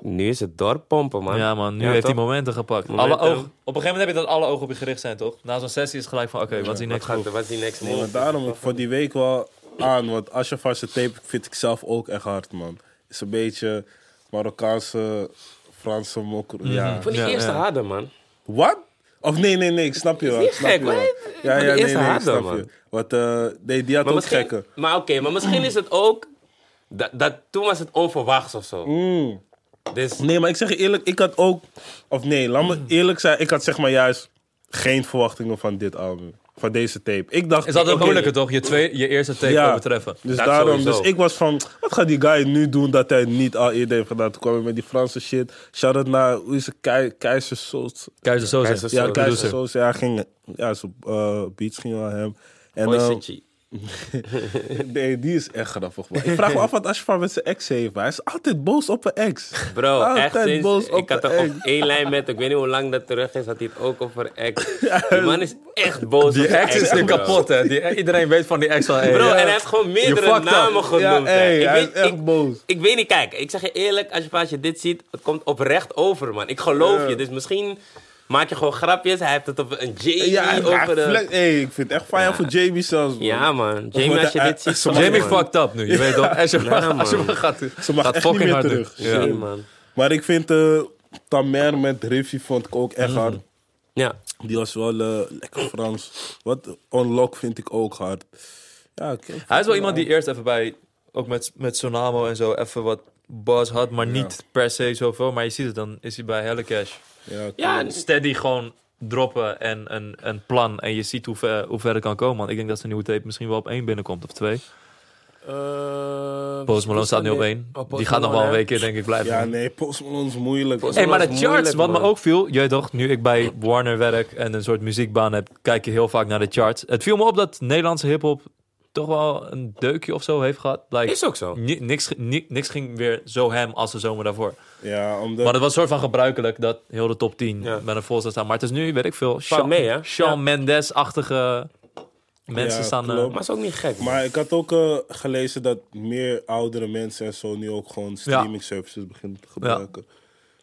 A: nu is het dorp pompen, man.
B: Ja, man. Nu heeft
A: toch?
B: hij momenten gepakt.
A: Momenten.
B: Alle oog, op een gegeven moment heb je dat alle ogen op je gericht zijn, toch? Na zo'n sessie is het gelijk van, oké, wat is die next
A: Gaat,
B: move?
A: wat is die next
C: Nee, maar
A: move?
C: daarom, ik vond die week wel aan. Want Ashafar zijn tape vind ik zelf ook echt hard, man. Is een beetje Marokkaanse, Franse mokker. Ja.
A: Ik vond die
B: Ja,
A: eerste
B: ja.
A: harder, man.
C: Wat? Of nee, nee, nee, ik snap je wel.
A: niet
C: ik snap
A: gek,
C: je wel.
A: hoor. Ik
C: Ja,
A: vond die
C: ja, nee,
A: eerste
C: nee, ik
A: hard
C: snap
A: wel,
C: je.
A: man.
C: Want eh, nee, die had
A: Maar
C: ook
A: misschien,
C: gekke.
A: maar oké, maar misschien is het ook... Dat, dat, toen was het onverwachts of zo. Dus...
C: Nee, maar ik zeg je eerlijk, ik had ook... Of nee, laat
A: Mm.
C: me eerlijk zijn. Ik had zeg maar juist geen verwachtingen van dit album. Van deze tape. Ik dacht...
B: Is dat het
C: oké,
B: moeilijker, toch? Je, twee, je eerste tape
C: Ja.
B: overtreffen.
C: Dus
A: Dat
C: daarom,
A: sowieso.
C: dus ik was van, wat gaat die guy nu doen dat hij niet al eerder heeft gedaan? Toen kwam hij met die Franse shit. Shout out naar, hoe is het, Kei- Keizer Soos.
B: Keizer Soze.
A: Keizer Soze.
C: Ja,
A: Zo,
C: Keizer
B: producer.
C: Soos, ja, ging, ja, zijn eh, beats gingen aan hem. En,
A: Mooi
C: eh,
A: zitje.
C: nee, die is echt grappig. man. Ik vraag me af wat Ashfar met zijn ex heeft. maar Hij is altijd boos op een ex.
A: Bro,
C: altijd
A: echt sinds-
C: boos op
A: ik had
C: een
A: er
C: ex.
A: ook één lijn met, ik weet niet hoe lang dat terug is, had hij het ook over ex. Die man is echt boos op
B: Die ex is
A: bro.
B: nu kapot, hè? Die, iedereen weet van die ex van... hey,
A: Bro,
B: ja.
A: en hij heeft gewoon meerdere
B: fucked up.
A: namen genoemd.
C: Ja,
A: hè.
C: ey,
A: ik
C: hij
A: weet,
C: is echt
A: ik,
C: boos.
A: Ik weet niet, kijk, ik zeg je eerlijk, als je, als je dit ziet, het komt oprecht over, man. Ik geloof je, dus misschien maak je gewoon grapjes. Hij heeft het over een Jamie,
C: Ja, hij
A: over een...
C: flex- hey, ik vind het echt fijn voor Jamie zelfs. man.
A: Ja, man.
C: Of
A: Jamie, als je
C: hij-
A: dit ziet...
C: hij-
A: man,
B: Jamie
A: man.
B: fucked up nu, je weet toch? Als je maar- als je
A: man.
B: maar gaat doen.
C: Ze mag
B: Gaat
C: echt niet
B: fucking
C: meer
B: hard
C: terug.
B: doen.
A: Nee,
B: Ja.
A: man.
C: Maar ik vind eh Tamer met Riffy vond ik ook echt hard.
A: Ja.
C: Die was wel eh, lekker Frans. Wat Unlock vind ik ook hard. Ja, oké.
B: Hij is wel iemand die eerst even bij, ook met, met Sonamo en zo, even wat buzz had, maar niet per se zoveel. Maar je ziet het, dan is hij bij Hellecash.
C: Ja, oké.
A: Ja,
B: Steady gewoon droppen en een, een plan. En je ziet hoe ver, hoe ver het kan komen. Want ik denk dat zijn nieuwe tape misschien wel op één binnenkomt of twee. Post Malone staat nu Eh, op één.
A: Oh,
B: Die gaat nog wel een weekje denk ik blijven.
C: ja nee, Post Malone is moeilijk.
A: Post-
B: Hey, maar de
A: Dat is
B: charts,
A: moeilijk,
B: wat me
A: man.
B: ook viel, je weet toch, nu ik bij Warner werk en een soort muziekbaan heb, kijk je heel vaak naar de charts. Het viel me op dat Nederlandse hip-hop toch wel een deukje of zo heeft gehad. Like,
A: Is ook zo.
B: ni- niks, ge- ni- niks ging weer zo hem als de zomer daarvoor.
C: Ja, omdat...
B: Maar het was soort van gebruikelijk dat heel de top 10
A: Ja.
B: met een vol zou staan. Maar het is nu, weet ik veel, Shawn,
A: mee, hè?
B: Shawn
A: Ja.
B: Mendes-achtige mensen
C: Ja,
B: staan... eh,
C: klopt.
A: Maar is ook niet gek, man.
C: Maar ik had ook eh, gelezen dat meer oudere mensen en zo nu ook gewoon streaming services beginnen te gebruiken.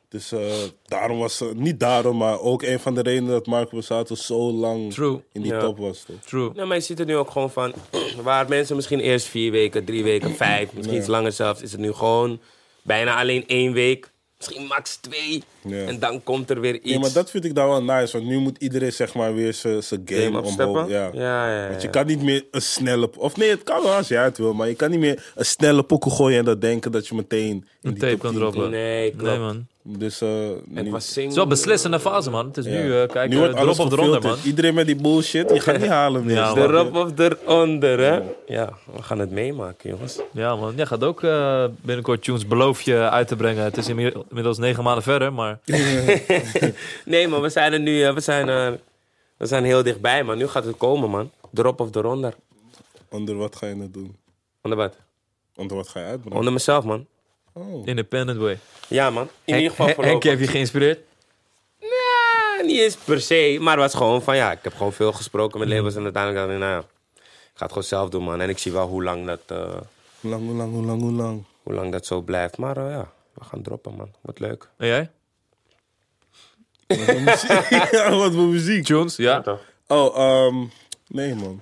C: Dus eh, daarom was ze, niet daarom, maar ook een van de redenen dat Marco Borsato zo lang
B: True.
C: in die
A: Ja.
C: top was. Toch?
B: true.
A: Ja, maar je ziet er Nou, nu ook gewoon van, waar mensen misschien eerst vier weken, drie weken, vijf, misschien iets langer zelfs, is het nu gewoon bijna alleen één week, misschien max twee.
C: Ja.
A: En dan komt er weer iets.
C: Nee, maar dat vind ik daar wel nice, want nu moet iedereen zeg maar weer zijn zijn game,
A: Game
C: omhoog.
A: opsteppen?
C: Ja.
A: Ja, ja, ja.
C: Want je kan niet meer een snelle... Of nee, het kan wel als jij het wil, maar je kan niet meer een snelle pokoe gooien en dat denken dat je meteen... in
B: Een
C: die
B: tape
C: top
B: kan
C: 10
B: droppen.
A: Nee, klopt.
B: Nee, man.
C: komt. Dus eh,
A: Het
C: nu-
A: was
B: Het
A: single.
B: is wel beslissende fase, man. Het is nu,
C: ja.
B: eh, kijk,
C: Nu
B: eh,
C: wordt alles
B: drop of eronder, man.
C: gefilterd. Iedereen met die bullshit, je gaat niet halen meer.
B: Ja,
C: snap
B: man.
C: je?
A: Erop of eronder, hè? Ja, we gaan het meemaken, jongens.
B: Ja, man. Jij gaat ook eh, binnenkort tunes beloof je uit te brengen. Het is inmi- inmiddels negen maanden verder, maar
A: Nee, maar we zijn er nu, eh, we zijn, eh, we zijn heel dichtbij, man. Nu gaat het komen, man. Erop of eronder.
C: Onder wat ga je het doen?
A: Onder wat?
C: Onder wat ga je uitbrengen?
A: Onder mezelf, man.
C: Oh.
B: independent way.
A: Ja, man. In ieder geval
B: Henk- Henk- Henk
A: voorlopig.
B: heeft je geïnspireerd?
A: Ja, Ah, niet eens per se, maar het was gewoon van ja, ik heb gewoon veel gesproken met labels en uiteindelijk dacht ik, nou ja, ik ga het gewoon zelf doen, man. En ik zie wel hoe lang dat, eh,
C: Hoe lang, hoe lang, hoe lang, hoe lang?
A: hoe lang dat zo blijft. Maar eh, ja, we gaan droppen, man. Wat leuk.
B: En jij?
C: Wat voor muziek? Ja, wat voor muziek?
B: Tunes, ja.
C: Oh, ehm, nee man.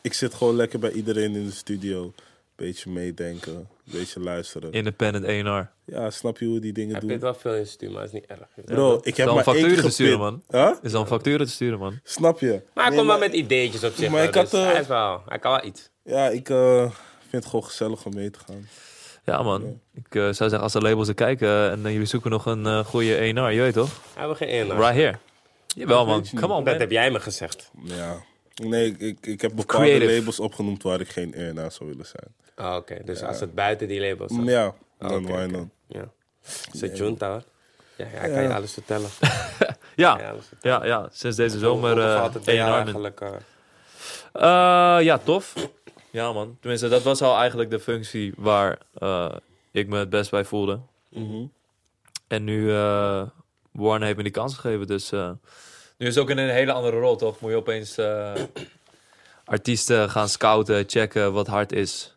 C: Ik zit gewoon lekker bij iedereen in de studio. Beetje meedenken, beetje luisteren.
B: Independent A&R.
C: Ja, snap je hoe die dingen
A: Heb je het
C: doen?
A: wel veel instuurd, maar is niet erg.
C: Bro, ik heb
B: Dan
C: maar één
B: facturen
C: keer
B: te sturen,
C: gepit.
B: man.
C: Huh?
B: Is dan facturen te sturen, man.
C: Snap je?
A: Maar hij
C: Nee,
A: komt wel met ideetjes op zich.
C: maar
A: wel,
C: ik had,
A: dus
C: eh,
A: hij, is wel, hij kan wel iets.
C: Ja, ik eh, vind het gewoon gezellig om mee te gaan.
B: Ja, man. Ik eh, zou zeggen, als de labels er kijken eh, en eh, jullie zoeken nog een eh, goede A&R, je weet toch?
A: Hij wil geen inhoud.
B: Right here. Jawel, man. Come on,
A: Dat
B: man.
A: heb jij me gezegd.
C: Ja. Nee, ik, ik, ik heb bepaalde
B: Creative.
C: labels opgenoemd waar ik geen eer naar zou willen zijn.
A: Ah, Oké, dus als het buiten die labels
C: Ja,
A: staat.
C: dan
A: Ah, oké,
C: why
A: oké.
C: not?
A: Ja. Zo junta, hoor. Ja, ja, hij kan je alles vertellen. Ja,
B: Ja.
A: alles vertellen.
B: Ja, ja. Sinds deze zomer
A: Hoe- hoe
B: eh,
A: valt het bij jou
B: A&R. man.
A: eigenlijk? eh?
B: Eh, ja, tof. Ja, man. Tenminste, dat was al eigenlijk de functie waar eh, ik me het best bij voelde.
C: Mhm.
B: En nu, eh Warren heeft me die kans gegeven. Dus eh, nu is het ook in een hele andere rol, toch? Moet je opeens eh, artiesten gaan scouten, checken wat hard is.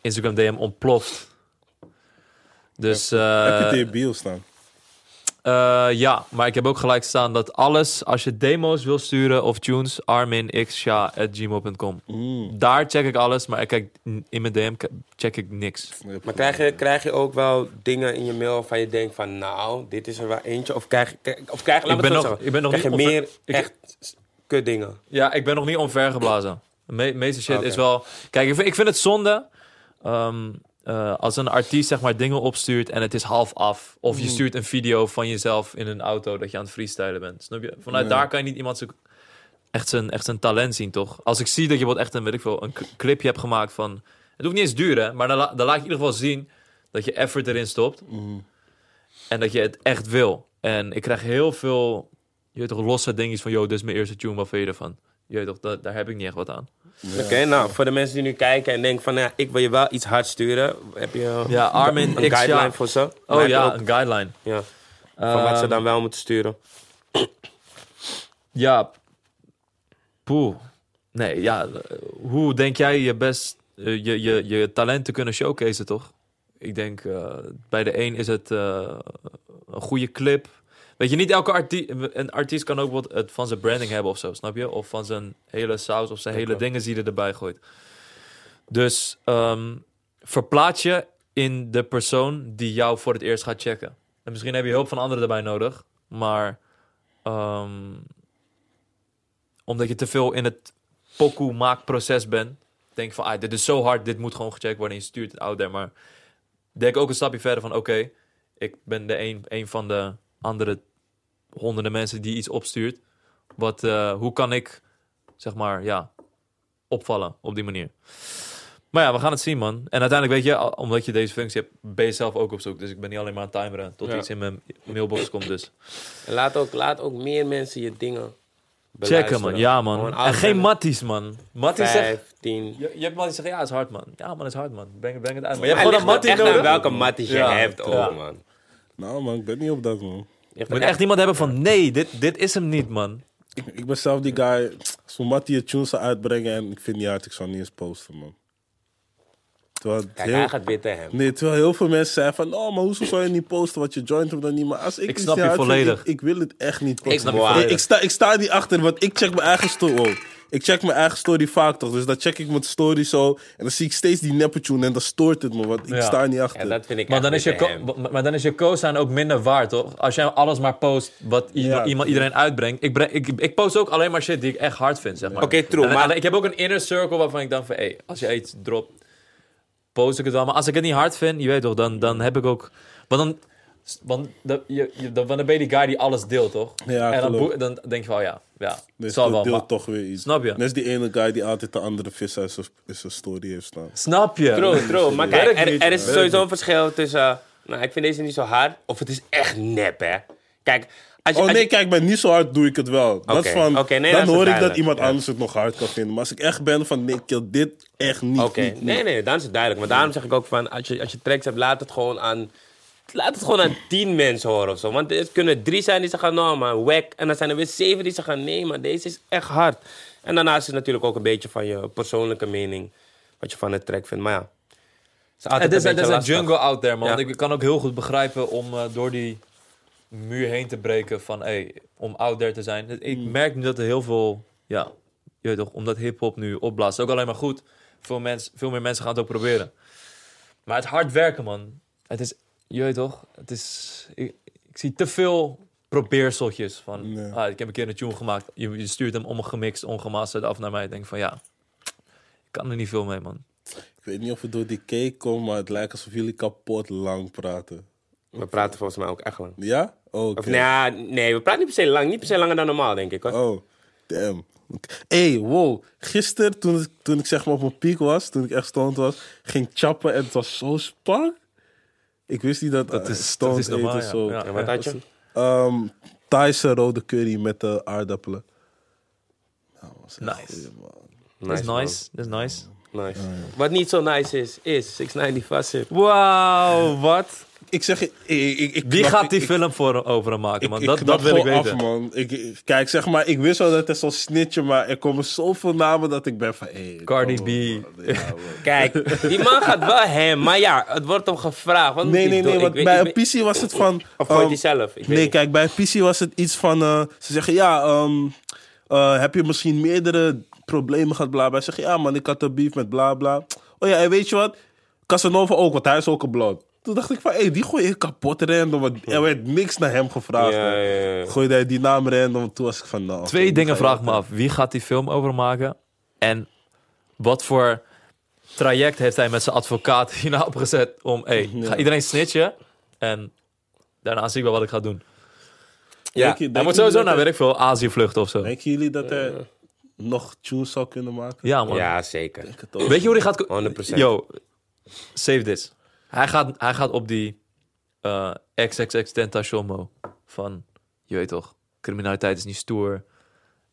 B: Instagram DM ontploft. Dus eh,
C: Heb je het in bio staan?
B: eh, ja, maar ik heb ook gelijk staan dat alles, als je demo's wil sturen of tunes, arminxsha.gmail.com.
C: Mm.
B: Daar check ik alles, maar ik kijk, in mijn DM k- check ik niks.
A: Maar krijg je, krijg je ook wel dingen in je mail van je denkt van nou, dit is er wel eentje. Of krijg, of krijg laat
B: Ik
A: me het zo
B: ben nog-
A: zeggen.
B: ik ben nog
A: krijg
B: niet
A: je
B: onver-
A: meer
B: ik-
A: echt kut dingen.
B: Ja, ik ben nog niet omvergeblazen. De me- meeste shit
A: Oké.
B: is wel... Kijk, ik vind, ik vind het zonde ehm, eh, als een artiest zeg maar dingen opstuurt en het is half af. Of je stuurt een video van jezelf in een auto dat je aan het freestylen bent. Snap je? Vanuit
C: Ja.
B: daar kan je niet iemand zijn, echt, zijn, echt zijn talent zien, toch? Als ik zie dat je wat echt een, weet ik veel, een c- clipje hebt gemaakt van... Het hoeft niet eens duur, hè? Maar dan, la- dan laat je in ieder geval zien dat je effort erin stopt. En dat je het echt wil. En ik krijg heel veel, je weet toch, losse dingetjes van... Yo, dit is mijn eerste tune, wat vind je ervan? Je weet toch, da- daar heb ik niet echt wat aan.
A: Oké, nou, voor de mensen die nu kijken en denken van nou ja, ik wil je wel iets hard sturen. Heb je
B: Ja, Armin,
A: een
B: ik- ja.
A: guideline voor ze? Maar
B: Oh
A: heb je
B: ja, Ehm.
A: ook-
B: een guideline.
A: ja. Van wat ze dan wel moeten sturen.
B: Ja, poeh. Nee, ja, eh, hoe denk jij je best, eh, je, je, je talent te kunnen showcaseen, toch? Ik denk, eh, bij de een is het eh, een goede clip. Weet je, niet elke artiest, een artiest kan ook wat het van zijn branding hebben of zo, snap je? Of van zijn hele saus of zijn hele
A: klopt.
B: dingen die hij erbij gooit. Dus ehm, verplaats je in de persoon die jou voor het eerst gaat checken. En misschien heb je hulp van anderen erbij nodig, maar ehm, omdat je te veel in het pokoe maakproces bent, denk van, ah, dit is zo hard, dit moet gewoon gecheckt worden. En je stuurt het out there, maar denk ook een stapje verder van, oké, ik ben de een, een van de andere honderden mensen die iets opstuurt. Wat, eh, hoe kan ik, zeg maar, ja, opvallen op die manier? Maar ja, we gaan het zien, man. En uiteindelijk weet je, al- omdat je deze functie hebt, ben je zelf ook op zoek. Dus ik ben niet alleen maar aan het timeren tot
A: Ja.
B: iets in mijn mailbox komt. Dus
A: En laat ook, laat ook meer mensen je dingen
B: checken,
A: beluisteren.
B: man. Ja,
A: Gewoon
B: man. En
A: afbellen.
B: geen matties, man. Matties zegt...
A: 15.
B: Je, je hebt matties zeggen, ja, het is hard, man. Ja, man, het is hard, man. Breng, breng het uit. Maar
A: Je
B: je hebt gewoon een mattie nodig.
A: welke matties je
B: Ja.
A: hebt ook,
B: Ja.
A: man.
C: Nou man, ik ben niet op dat man.
A: Je hebt
B: Je moet echt iemand hebben van, nee, dit, dit is hem niet, man.
C: Ik ben zelf die guy, als mijn mattie je tunes zou uitbrengen en ik vind niet hard, ik zou niet eens posten man. Terwijl het
A: Kijk,
C: heel-
A: hij gaat witten hem.
C: Nee, terwijl heel veel mensen zeiden van, oh, maar hoezo zou je niet posten wat je joint hem dan niet? Maar als ik, iets
B: snap
C: niet
B: je
C: hard vind,
B: volledig.
C: Ik, ik wil het echt niet posten.
B: snap
A: je
C: Nee,
A: volledig.
C: ik, sta, ik sta niet achter, want ik check mijn eigen story. wow. Ik check mijn eigen story vaak toch, dus dan check ik mijn story zo. En dan zie ik steeds die neppe tune en dan stoort het me, want ik
B: Ja.
C: sta er niet achter.
A: Ja, dat vind ik
B: Maar dan,
A: echt
B: is je
A: witte
B: co-
A: hem.
B: maar- maar dan is je co-sign ook minder waard, toch? Als jij alles maar post wat i-
C: Ja.
B: iemand, iedereen uitbrengt. Ik, breng, ik, ik post ook alleen maar shit die ik echt hard vind, zeg maar.
A: Oké, true,
B: En- en-
A: maar-
B: Ik heb ook een inner circle waarvan ik dacht van... Hey, als jij iets dropt, post ik het wel. Maar als ik het niet hard vind, je weet toch, dan, dan heb ik ook... Want dan, want, dan- je, je- dan, want dan ben je die guy die alles deelt, toch?
C: Ja,
B: en dan,
C: klopt.
B: boe- dan denk je van, oh ja, ja
C: Dus
B: zal
C: dat
B: wel.
C: deelt
B: maar-
C: toch weer iets.
B: Snap je?
C: Net als die ene guy die altijd de andere vis uit zijn- uit zijn story heeft staan.
B: Snap je?
A: True, true. Maar
B: Werkt
A: kijk, er,
B: niet.
A: er is
B: Werkt
A: sowieso een verschil tussen... eh, Nou, ik vind deze niet zo hard. Of het is echt nep, hè. Kijk, als je...
C: Oh
A: als
C: nee,
A: je-
C: kijk, maar niet zo hard doe ik het wel. Dat
A: Oké,
C: is van,
A: oké, nee,
C: dan
A: dat is
C: hoor ik dat
A: duidelijk,
C: iemand
A: ja.
C: anders het nog hard kan vinden. Maar als ik echt ben van, nee, kill dit echt niet.
A: Oké,
C: niet, niet.
A: nee, nee, dan is het duidelijk. Maar daarom zeg ik ook van, als je, als je tracks hebt, laat het gewoon aan... Laat het gewoon aan tien mensen horen of zo. Want het kunnen drie zijn die ze gaan, nou man, wack. En dan zijn er weer zeven die ze gaan, nee maar deze is echt hard. En daarnaast is het natuurlijk ook een beetje van je persoonlijke mening. Wat je van het track vindt, maar ja. Het is altijd
B: Het is,
A: een
B: het is
A: beetje
B: een
A: lastig.
B: jungle out there, man.
A: Ja.
B: Ik kan ook heel goed begrijpen om eh, door die muur heen te breken van, hey, om out there te zijn. Het-
C: Hmm.
B: Ik merk nu dat er heel veel, ja, je weet toch, omdat hip-hop nu opblaast. Ook alleen maar goed. Veel, mens, veel meer mensen gaan het ook proberen. Maar het hard werken, man. Het is, je weet toch, het is, ik, ik zie te veel probeerseltjes van,
C: Ja.
B: ah, ik heb een keer een tune gemaakt. Je, je stuurt hem ongemixt, ongemasterd af naar mij. Ik denk van, ja, ik kan er niet veel mee, man.
C: Ik weet niet of het door die cake komt, maar het lijkt alsof jullie kapot lang praten.
A: We praten volgens mij ook echt lang.
C: Ja? Oh, oké.
A: Of nou ja, nee, we praten niet per se lang. Niet per se langer dan normaal, denk ik. Hoor.
C: Oh, damn. Hé, hey, wow. Gisteren, toen, ik- toen ik zeg maar op mijn piek was, toen ik echt stoned was, ging chappen en het was zo spark. Ik wist niet dat
B: Dat is-
C: dat
B: dat
C: is stoned
B: is normaal,
C: eten
B: ja.
C: zo.
B: Ja.
A: en wat had je?
C: Ehm, Thaise rode curry met de aardappelen. Nou, was echt
B: Nice.
C: goeie, man.
B: Dat is nice, dat is nice.
C: Oh,
A: man. Nice. Wat niet zo nice is, is 690 Facet.
B: Wauw, wat?
C: ik zeg, je, ik, ik, ik
B: Wie
C: knap-
B: gaat die
C: ik-
B: film voor over hem maken,
C: Ik,
B: man?
C: ik
B: dat
C: knap
B: dat wil ik
C: gewoon
B: weten.
C: Af, man. Ik- Ik, kijk, zeg maar, ik wist al dat het zal snitchen, maar er komen zoveel namen dat ik ben van... Hey,
B: Cardi
C: kom
B: B.
C: op, man. Ja, man.
A: Kijk, die man gaat wel hem, maar ja, het wordt hem gevraagd. Wat moet
C: Nee,
A: hij
C: nee,
A: doen?
C: nee,
A: Ik
C: want
A: weet-
C: bij
A: ik
C: een
A: weet-
C: PC was het van...
A: Of gooit
C: ehm,
A: hij zelf? Ik weet
C: Nee,
A: niet.
C: kijk, bij PC was het iets van... eh, ze zeggen, ja, ehm, eh, heb je misschien meerdere problemen gehad, bla, bla. Ze zeggen, ja man, ik had een beef met bla, bla. Oh ja, en weet je wat? Casanova ook, want hij is ook een blond. Toen dacht ik van, hé, hey, die gooi ik kapot random. want Er werd niks naar hem gevraagd.
A: Ja,
C: hè.
A: ja, ja.
C: Gooide hij die naam random. Toen was ik van, nou...
B: Twee
C: oké,
B: dingen
C: die ga je
B: vraag ik me
C: ook-
B: af. Wie gaat die film over maken? En wat voor traject heeft hij met zijn advocaat hierna opgezet om... Hey,
C: Ja.
B: ga iedereen snitchen en daarna zie ik wel wat ik ga
A: Ja,
B: doen.
C: Denk je-
B: Hij
C: denk
B: moet
C: jullie
B: sowieso
C: dat
B: naar,
C: hij-
B: weet ik veel, Azië vluchten of zo.
C: Denken jullie dat hij nog tunes zou kunnen maken?
B: Ja, man.
A: ja, zeker.
C: Ik het ook.
B: Weet je hoe hij gaat...
A: 100%.
B: Yo, save this. Hij gaat, hij gaat op die eh XXX Tentacion van, je weet toch, criminaliteit is niet stoer.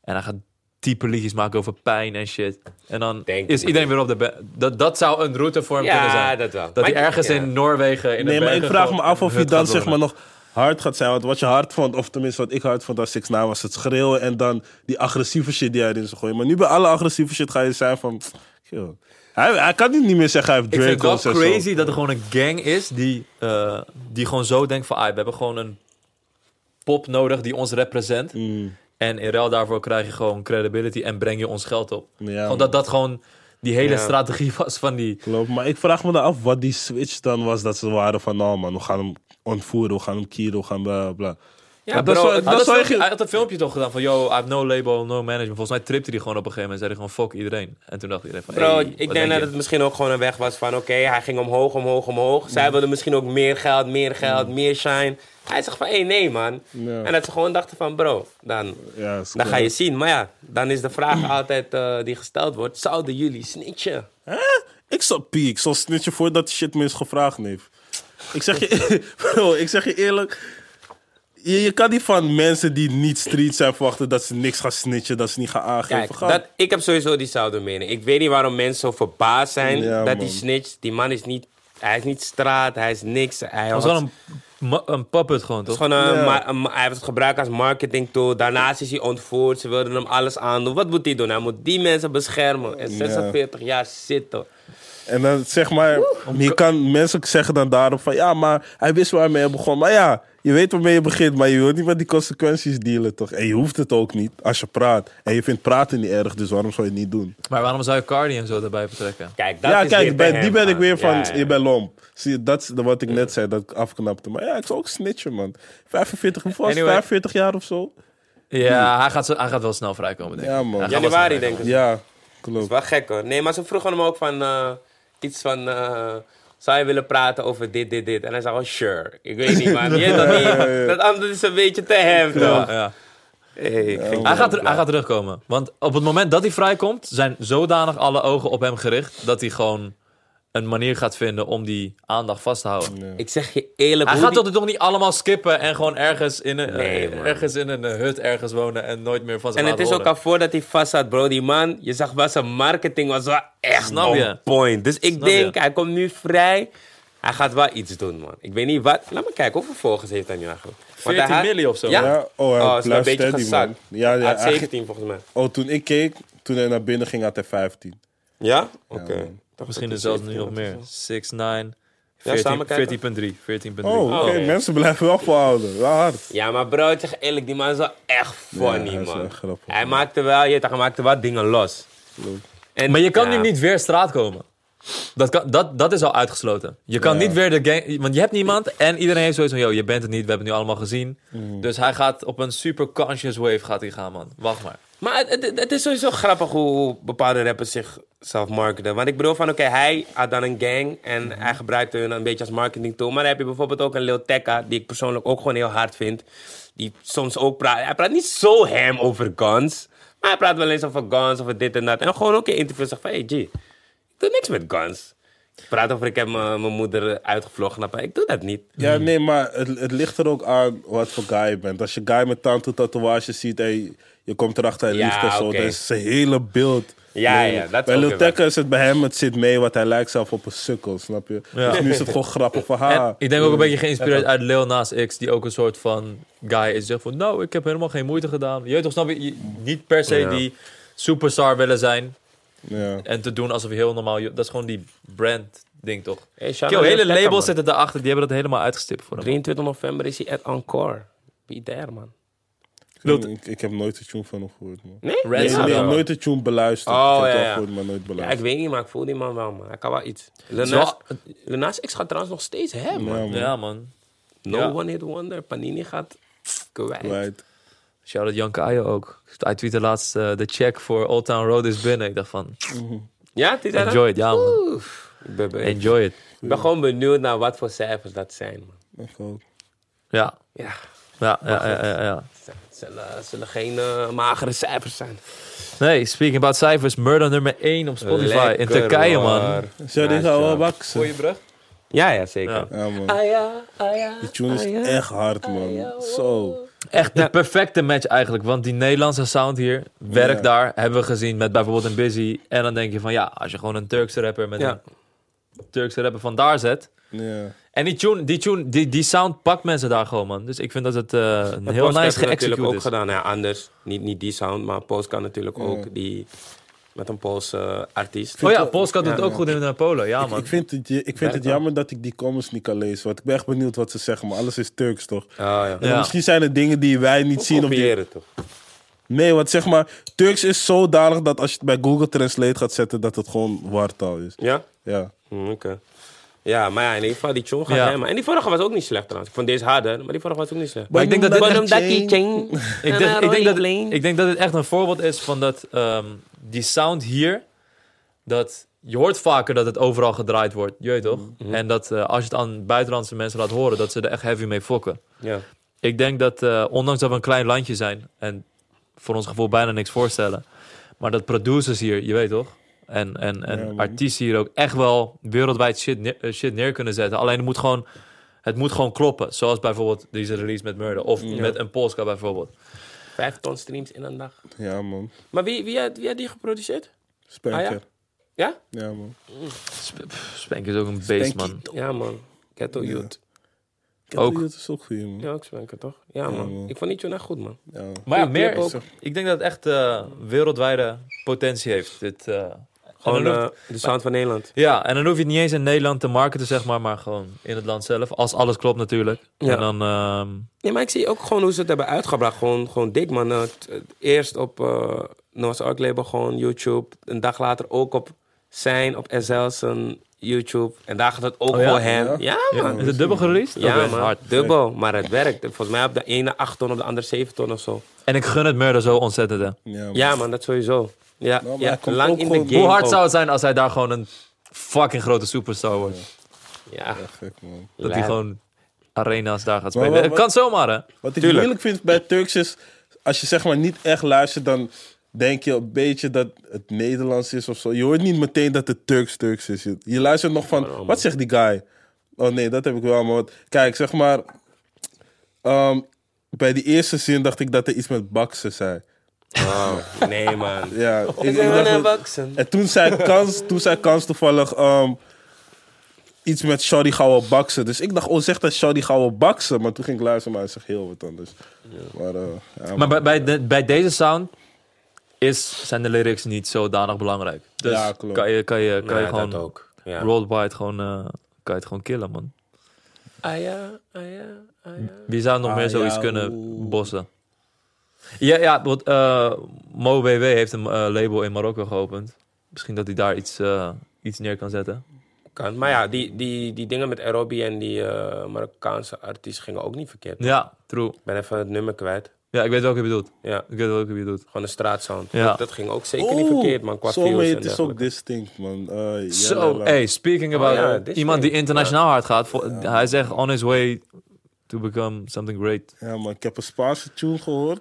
B: En hij gaat diepe liedjes maken over pijn en shit. En dan
A: Denk
B: is
A: ik.
B: iedereen weer op de... be- Dat, dat zou een route voor hem kunnen
A: Ja,
B: zijn.
A: dat wel.
B: Dat hij
A: Maar-
B: ergens
A: ja.
B: in Noorwegen... In de
C: Nee, maar ik
B: bergen
C: vraag me
B: gewoon
C: af
B: een
C: of hij
B: hut
C: dan
B: gaat
C: zeg maar
B: wonen.
C: nog hard gaat zijn. Want wat je hard vond, of tenminste wat ik hard vond als Six Nine was het schreeuwen en dan die agressieve shit die hij erin zou gooien. Maar nu bij alle agressieve shit ga je zijn van... pff, joh. Hij, hij kan nu niet meer zeggen hij heeft
B: Ik
C: Drake
B: vind het wel
C: en zo.
B: crazy dat er gewoon een gang is die, eh, die gewoon zo denkt van... Ah, we hebben gewoon een pop nodig die ons represent.
A: Mm.
B: En in ruil daarvoor krijg je gewoon credibility en breng je ons geld op.
C: Ja,
B: gewoon
C: man.
B: dat dat gewoon die hele
A: Ja.
B: strategie was van die...
C: Klopt, maar ik vraag me dan af wat die switch dan was dat ze waren van... Nou man, we gaan hem ontvoeren, we gaan hem kieren, we gaan bla bla.
A: Ja,
C: Maar
A: bro,
C: zou-
A: het-
B: Hij had,
C: zou
B: een,
C: je-
B: hij had een filmpje toch gedaan van... Yo, I have no label, no management. Volgens mij tripte hij gewoon op een gegeven moment. en Zei hij gewoon fuck iedereen. En toen dacht iedereen van...
A: Bro,
B: hey,
A: ik
B: wat
A: denk,
B: je?
A: dat het misschien ook gewoon een weg was van... Oké, hij ging omhoog, omhoog, omhoog. Zij wilden misschien ook meer geld, meer geld, meer shine. Hij zegt van, hé, nee, man.
C: Ja.
A: En dat ze gewoon dachten van, bro, dan,
C: Ja, is
A: dan
C: cool.
A: ga je zien. Maar ja, dan is de vraag altijd eh, die gesteld wordt... Zouden jullie snitchen?
C: Eh, Ik zal pie, ik zal snitchen voordat die shit me is gevraagd heeft. Ik zeg je, bro, ik zeg je eerlijk. Je, je kan niet van mensen die niet street zijn verwachten dat ze niks gaan snitchen, dat ze niet gaan aangeven.
A: Kijk,
C: Ga-
A: dat, ik heb sowieso diezelfde mening. Ik weet niet waarom mensen zo verbaasd zijn
C: Ja,
A: dat
C: man.
A: hij snitcht. Die man is niet... Hij is niet straat, hij is niks. Hij
B: Het
A: was
B: was wel een, ma- een puppet gewoon, toch?
A: Het is gewoon een
C: Ja.
A: ma- een ma- hij heeft het gebruikt als marketing tool. Daarnaast is hij ontvoerd. Ze wilden hem alles aandoen. Wat moet hij doen? Hij moet die mensen beschermen. En 46 jaar zitten.
C: En dan zeg maar, je kan mensen zeggen dan daarop van ja, maar hij wist waarmee hij begon. Maar ja, je weet waarmee je begint, maar je wilt niet met die consequenties dealen toch? En je hoeft het ook niet als je praat. En je vindt praten niet erg, dus waarom zou je het niet doen?
B: Maar waarom zou je Cardi en zo daarbij betrekken?
A: Kijk, dat
C: ja,
A: is
C: kijk,
A: weer
C: bij-
A: bij hem,
C: die ben ik
A: man.
C: weer van,
A: Ja, ja.
C: je bent lomp. Zie je, dat is de- wat ik net zei, dat ik afknapte. Maar ja, ik zou ook snitchen, man. 45, hoeveel was het?
B: Anyway.
C: 45 jaar of zo?
B: Ja, hij gaat, zo- hij gaat wel snel vrijkomen, denk ik.
C: Ja,
B: Hij
C: man.
B: gaat wel snel
A: Januari,
B: vrijkomen.
A: denk ik.
C: Ja,
A: Dat
C: klopt.
A: is wel gek hoor. Nee, maar ze vroegen hem ook van eh, iets van. eh, zou je willen praten over dit, dit, dit? En hij zei, oh, sure. Ik weet niet, man. Je weet dat, niet. dat andere is een beetje te hem, toch?
B: Ja, ja.
A: Hey, ik ging
B: Hij, gaat, er- hij gaat terugkomen. Want op het moment dat hij vrijkomt, zijn zodanig alle ogen op hem gericht dat hij gewoon een manier gaat vinden om die aandacht vast te houden.
A: Ik zeg je eerlijk,
B: Hij
A: hoe
B: gaat
A: die-
B: dat toch niet allemaal skippen en gewoon ergens in een,
A: Nee,
B: eh,
A: man.
B: ergens in een eh, hut ergens wonen en nooit meer van zijn
A: En het
B: laten
A: is ook
B: horen.
A: al voordat hij vast zat, bro. Die man, je zag wel zijn marketing was wel echt
B: Snap
A: on
B: je?
A: point. Dus ik
B: Snap
A: denk,
B: je?
A: hij komt nu vrij. Hij gaat wel iets doen, man. Ik weet niet wat. Laat maar kijken, hoeveel volgers heeft hij nu eigenlijk? Want
B: 14
A: hij had-
B: miljoen of zo.
A: Ja.
C: Ja, oh,
A: oh, is
C: hij
A: wel een
C: blijft
A: beetje
C: steady,
A: gezakt.
C: man. Ja, ja,
A: hij had
C: hij-
A: 17 volgens mij.
C: Oh, toen ik keek, toen hij naar binnen ging, had hij 15.
A: Ja? Oké.
C: man.
A: Toch
B: Misschien
A: dat
B: is
A: hij
B: zelfs nu nog
A: 17
B: meer.
A: was.
B: 6, 9,
A: samen
B: 14, 14.3. 14.3.
A: kijken.
C: Oh, oké,
A: ja.
C: mensen blijven wel volhouden. Wel hard.
A: Ja, maar bro, ik zeg eerlijk, die man is wel echt funny,
C: hij is wel
A: man.
C: echt grappig,
A: hij maakte wel, je weet toch, hij maakte wel dingen los. En,
B: Maar je kan
A: ja.
B: nu niet weer straat komen. Dat, kan, dat, dat is al uitgesloten. Je kan
C: Ja.
B: niet weer de gang... Want je hebt niemand en iedereen heeft sowieso... Yo, je bent het niet, we hebben het nu allemaal gezien.
A: Mm.
B: Dus hij gaat op een super conscious wave gaat hij gaan, man. Wacht maar.
A: Maar het, het, het is sowieso grappig hoe bepaalde rappers zichzelf marketen. Want ik bedoel van, oké, hij had dan een gang en hij gebruikte hun een beetje als marketing tool. Maar dan heb je bijvoorbeeld ook een Lil Tecca, die ik persoonlijk ook gewoon heel hard vind. Die soms ook praat, hij praat niet zo hem over guns. Maar hij praat wel eens over guns, over dit en dat. En dan gewoon ook in interviews zegt van, hey G, ik doe niks met guns. Praat over ik heb mijn mijn moeder uitgevlogen. Nappa. Ik doe dat niet.
C: Ja, nee, maar het, het ligt er ook aan wat voor guy je bent. Als je guy met tattoo-tatoeages ziet en je komt erachter hij
A: Ja,
C: liefde en zo,
A: oké.
C: dat is zijn hele beeld.
A: Ja, ja, dat is
C: Bij
A: ook
C: Lil
A: weer
C: Tecca is het bij hem, het zit mee, want hij lijkt zelf op een sukkel, snap je?
B: Ja.
C: Dus nu is het gewoon grappig van
B: En
C: haar.
B: ik denk ook
A: Mm.
B: een beetje geïnspireerd uit Lil Nas X, die ook een soort van guy is. die Zegt van, nou, ik heb helemaal geen moeite gedaan. Je weet toch, snap je, je- niet per se
A: Ja.
B: die superstar willen zijn
C: Ja.
B: en te doen alsof je heel normaal... je- Dat is gewoon die brand ding, toch?
A: Hey, shout
B: Kill,
A: out Lil
B: hele
A: Tecca, man.
B: labels zitten daarachter, die hebben dat helemaal uitgestipt voor hem.
A: 23 november is hij at Encore. Be there, man.
C: Ik, ik, ik heb nooit de tune van hem gehoord, man.
A: Nee?
B: Red
C: Nee,
B: Zone.
A: Ja,
C: nee,
A: wel.
C: nooit de tune beluisterd.
A: Oh,
C: ik heb het
A: ja,
C: wel
A: ja.
C: gehoord, maar nooit
A: Ja, ik
C: beluisterd.
A: weet niet, maar ik voel die man wel, man. Hij kan wel iets.
B: wel-
A: Lenaas, Lenaas X gaat trouwens nog steeds hè, man.
C: Ja, man.
B: Ja, man.
A: No
B: Ja.
A: one hit wonder. Panini gaat kwijt.
C: Right.
B: Shout-out Jan Kaaien ook. Hij tweette laatst, eh, de check voor Old Town Road is binnen. Ik dacht van,
A: Ja, het is dat?
B: enjoy it, ja man.
A: Oef. Ik ben, ben-
B: Enjoy it.
A: ik ben gewoon benieuwd naar wat voor cijfers dat zijn, man.
C: Ik ook.
B: Ja,
A: Ja,
B: ja, ja, ja, ja, ja.
A: het zullen, zullen geen eh, magere cijfers zijn.
B: Nee, speaking about cijfers, murder nummer 1 op Spotify in Turkije, man.
C: Zou die gaan wel baksen?
B: brug?
A: Ja, ja, zeker.
B: Ja.
C: Ja, man.
A: Ah ja, ah ja.
C: Die tune
A: ah, ja.
C: is echt hard, man. Zo.
B: Echt de perfecte match eigenlijk, want die Nederlandse sound hier werkt
C: Ja.
B: daar, hebben we gezien met bijvoorbeeld een Busy. En dan denk je van ja, als je gewoon een Turkse rapper met
A: Ja.
B: een Turkse rapper van daar zet.
C: Ja.
B: En die tune, die, tune die, die sound pakt mensen daar gewoon, man. Dus ik vind dat het eh, een heel
A: Post heeft het
B: nice
A: natuurlijk
B: geëxecuteerd
A: ook
B: is.
A: gedaan. Ja, anders, niet, niet die sound, maar Post kan natuurlijk ook die... Met een Poolse eh, artiest.
B: Oh ja, Polska doet het ook
C: ja.
B: goed in eh, Polen, ja
C: Ik
B: man.
C: vind het, je- ik vind het jammer dat ik die comments niet kan lezen. Want ik ben echt benieuwd wat ze zeggen. Maar alles is Turks, toch?
A: Oh, ja.
C: En
B: Ja.
C: Misschien zijn er dingen die wij niet zien. Of die...
A: Kopiëren, toch?
C: Nee, want zeg maar, Turks is zodanig dat als je het bij Google Translate gaat zetten, dat het gewoon wartaal is.
A: Ja?
C: Ja.
A: Hm, Oké. Ja, maar ja, in ieder geval, die tune gaat
B: Ja.
A: helemaal. En die vorige was ook niet slecht trouwens. Ik vond deze harder, maar die vorige was ook niet slecht.
B: Maar ik denk dat dit echt-
A: Bottom Ducky Chain.
B: Ik denk, ik, denk dat, ik denk dat het echt een voorbeeld is van dat ehm, die sound hier. Dat je hoort vaker dat het overal gedraaid wordt, je weet toch?
C: Mm-hmm.
B: En dat eh, als je het aan buitenlandse mensen laat horen, dat ze er echt heavy mee fokken.
A: Ja.
B: Ik denk dat, eh, ondanks dat we een klein landje zijn en voor ons gevoel bijna niks voorstellen, maar dat producers hier, je weet toch? En, en, en
C: Ja, man.
B: artiesten hier ook echt wel wereldwijd shit neer, eh, shit neer kunnen zetten. Alleen het moet, gewoon, het moet gewoon kloppen. Zoals bijvoorbeeld deze release met Murder of met een Polska bijvoorbeeld.
A: Vijf ton streams in een dag.
C: Ja, man.
A: Maar wie, wie, had, wie had die geproduceerd?
C: Spencer.
A: Ah, ja? Ja?
C: ja? man.
B: Sp- pff, Spank is ook een beest,
C: Spanky.
B: man.
A: Ja, man. Ghetto Youth.
C: Kijk,
B: Ook.
C: Dat is ook goed, man.
A: Ja, ook spanken, toch? Ja, man.
C: man.
A: Ik vond die tune echt goed, man.
C: Ja.
B: Maar ja,
A: Goeie
B: meer
A: clip
B: ook.
A: ook.
B: Ik denk dat het echt eh, wereldwijde potentie heeft. Dit, eh, en
A: Gewoon
B: dan hoef-
A: eh, de sound van Nederland.
B: ja, en dan hoef je het niet eens in Nederland te marketen, zeg maar, maar gewoon in het land zelf. Als alles klopt natuurlijk.
A: Ja.
B: En dan, ehm,
A: Ja, maar ik zie ook gewoon hoe ze het hebben uitgebracht. Gewoon, gewoon dik, man. Eh, t- eh, Eerst op eh Noah's Ark label, gewoon YouTube. Een dag later ook op zijn, op SL zijn YouTube. En daar gaat het ook
B: Oh ja?
A: voor hem. Ja,
C: Ja?
A: man.
B: is het dubbel gereleased?
A: Ja,
B: Oké,
A: man.
B: hard.
A: Dubbel, maar het werkt. Volgens mij op de ene 8 ton, op de andere 7 ton of zo.
B: En ik gun het Murder zo ontzettend, hè.
C: Ja, man.
A: Ja, man, dat sowieso. Ja,
C: maar
A: ja
C: hij komt
A: lang
C: ook
A: in
C: gewoon-
A: de game.
B: Hoe hard
A: ook.
B: zou het zijn als hij daar gewoon een fucking grote superstar wordt?
A: Ja,
C: Gek, man.
B: Dat hij
A: lijp.
B: gewoon arena's daar gaat
C: Maar
B: spelen.
C: wat-
B: Het kan zomaar, hè.
C: Wat ik
A: Tuurlijk.
C: moeilijk vind bij Turks is, als je zeg maar niet echt luistert, dan denk je een beetje dat het Nederlands is of zo. Je hoort niet meteen dat het Turks-Turks is. Je, je luistert nog van, wat zegt die guy? Oh nee, dat heb ik wel, maar wat- kijk, zeg maar, ehm, bij die eerste zin dacht ik dat er iets met baksen zei.
A: Oh, nee, man.
C: Ja, ik, ik
A: ben
C: dacht
A: aan
C: dat-
A: baksen.
C: en toen zei kans, toen zei kans toevallig ehm, iets met Shawty gaan we baksen. Dus ik dacht, oh zeg dat Shawty gaan we baksen. Maar toen ging ik luisteren, maar hij zegt heel wat anders. Maar, eh, ja, man.
B: Maar bij, bij, de- bij deze sound is, zijn de lyrics niet zodanig belangrijk. Dus
C: Ja, klopt.
B: kan je, kan je, kan je
A: Ja,
B: gewoon
A: dat ook. Ja.
B: worldwide gewoon, eh, kan je het gewoon killen, man.
A: Ah ja, ah ja, ah ja.
B: Wie zou nog
C: Ah,
B: meer zoiets
C: ja,
B: kunnen
C: oeh.
B: bossen? Ja, ja want eh, Mo BW heeft een eh, label in Marokko geopend. Misschien dat hij daar iets, eh, iets neer kan zetten.
A: Kan. Maar ja, die, die, die dingen met Aerobi en die eh, Marokkaanse artiest gingen ook niet verkeerd.
B: Ja, true.
A: Ik ben even het nummer kwijt.
B: Ja, ik weet welke je bedoelt.
A: Ja,
B: Ik weet welke je bedoelt.
A: gewoon een straatsound.
B: Ja.
A: Dat, dat ging ook zeker niet
C: Oeh,
A: verkeerd, man. Qua
C: zo, maar
A: views en
C: Het is ook
A: dergelijke.
C: distinct, man. Eh,
B: Zo,
C: ja, Oh, ja,
B: hey, speaking about
A: ja, dit
B: iemand die
A: ding.
B: internationaal hard gaat. vol- Hij zegt on his way to become something great.
C: Ja, man, ik heb een Spaanse tune gehoord.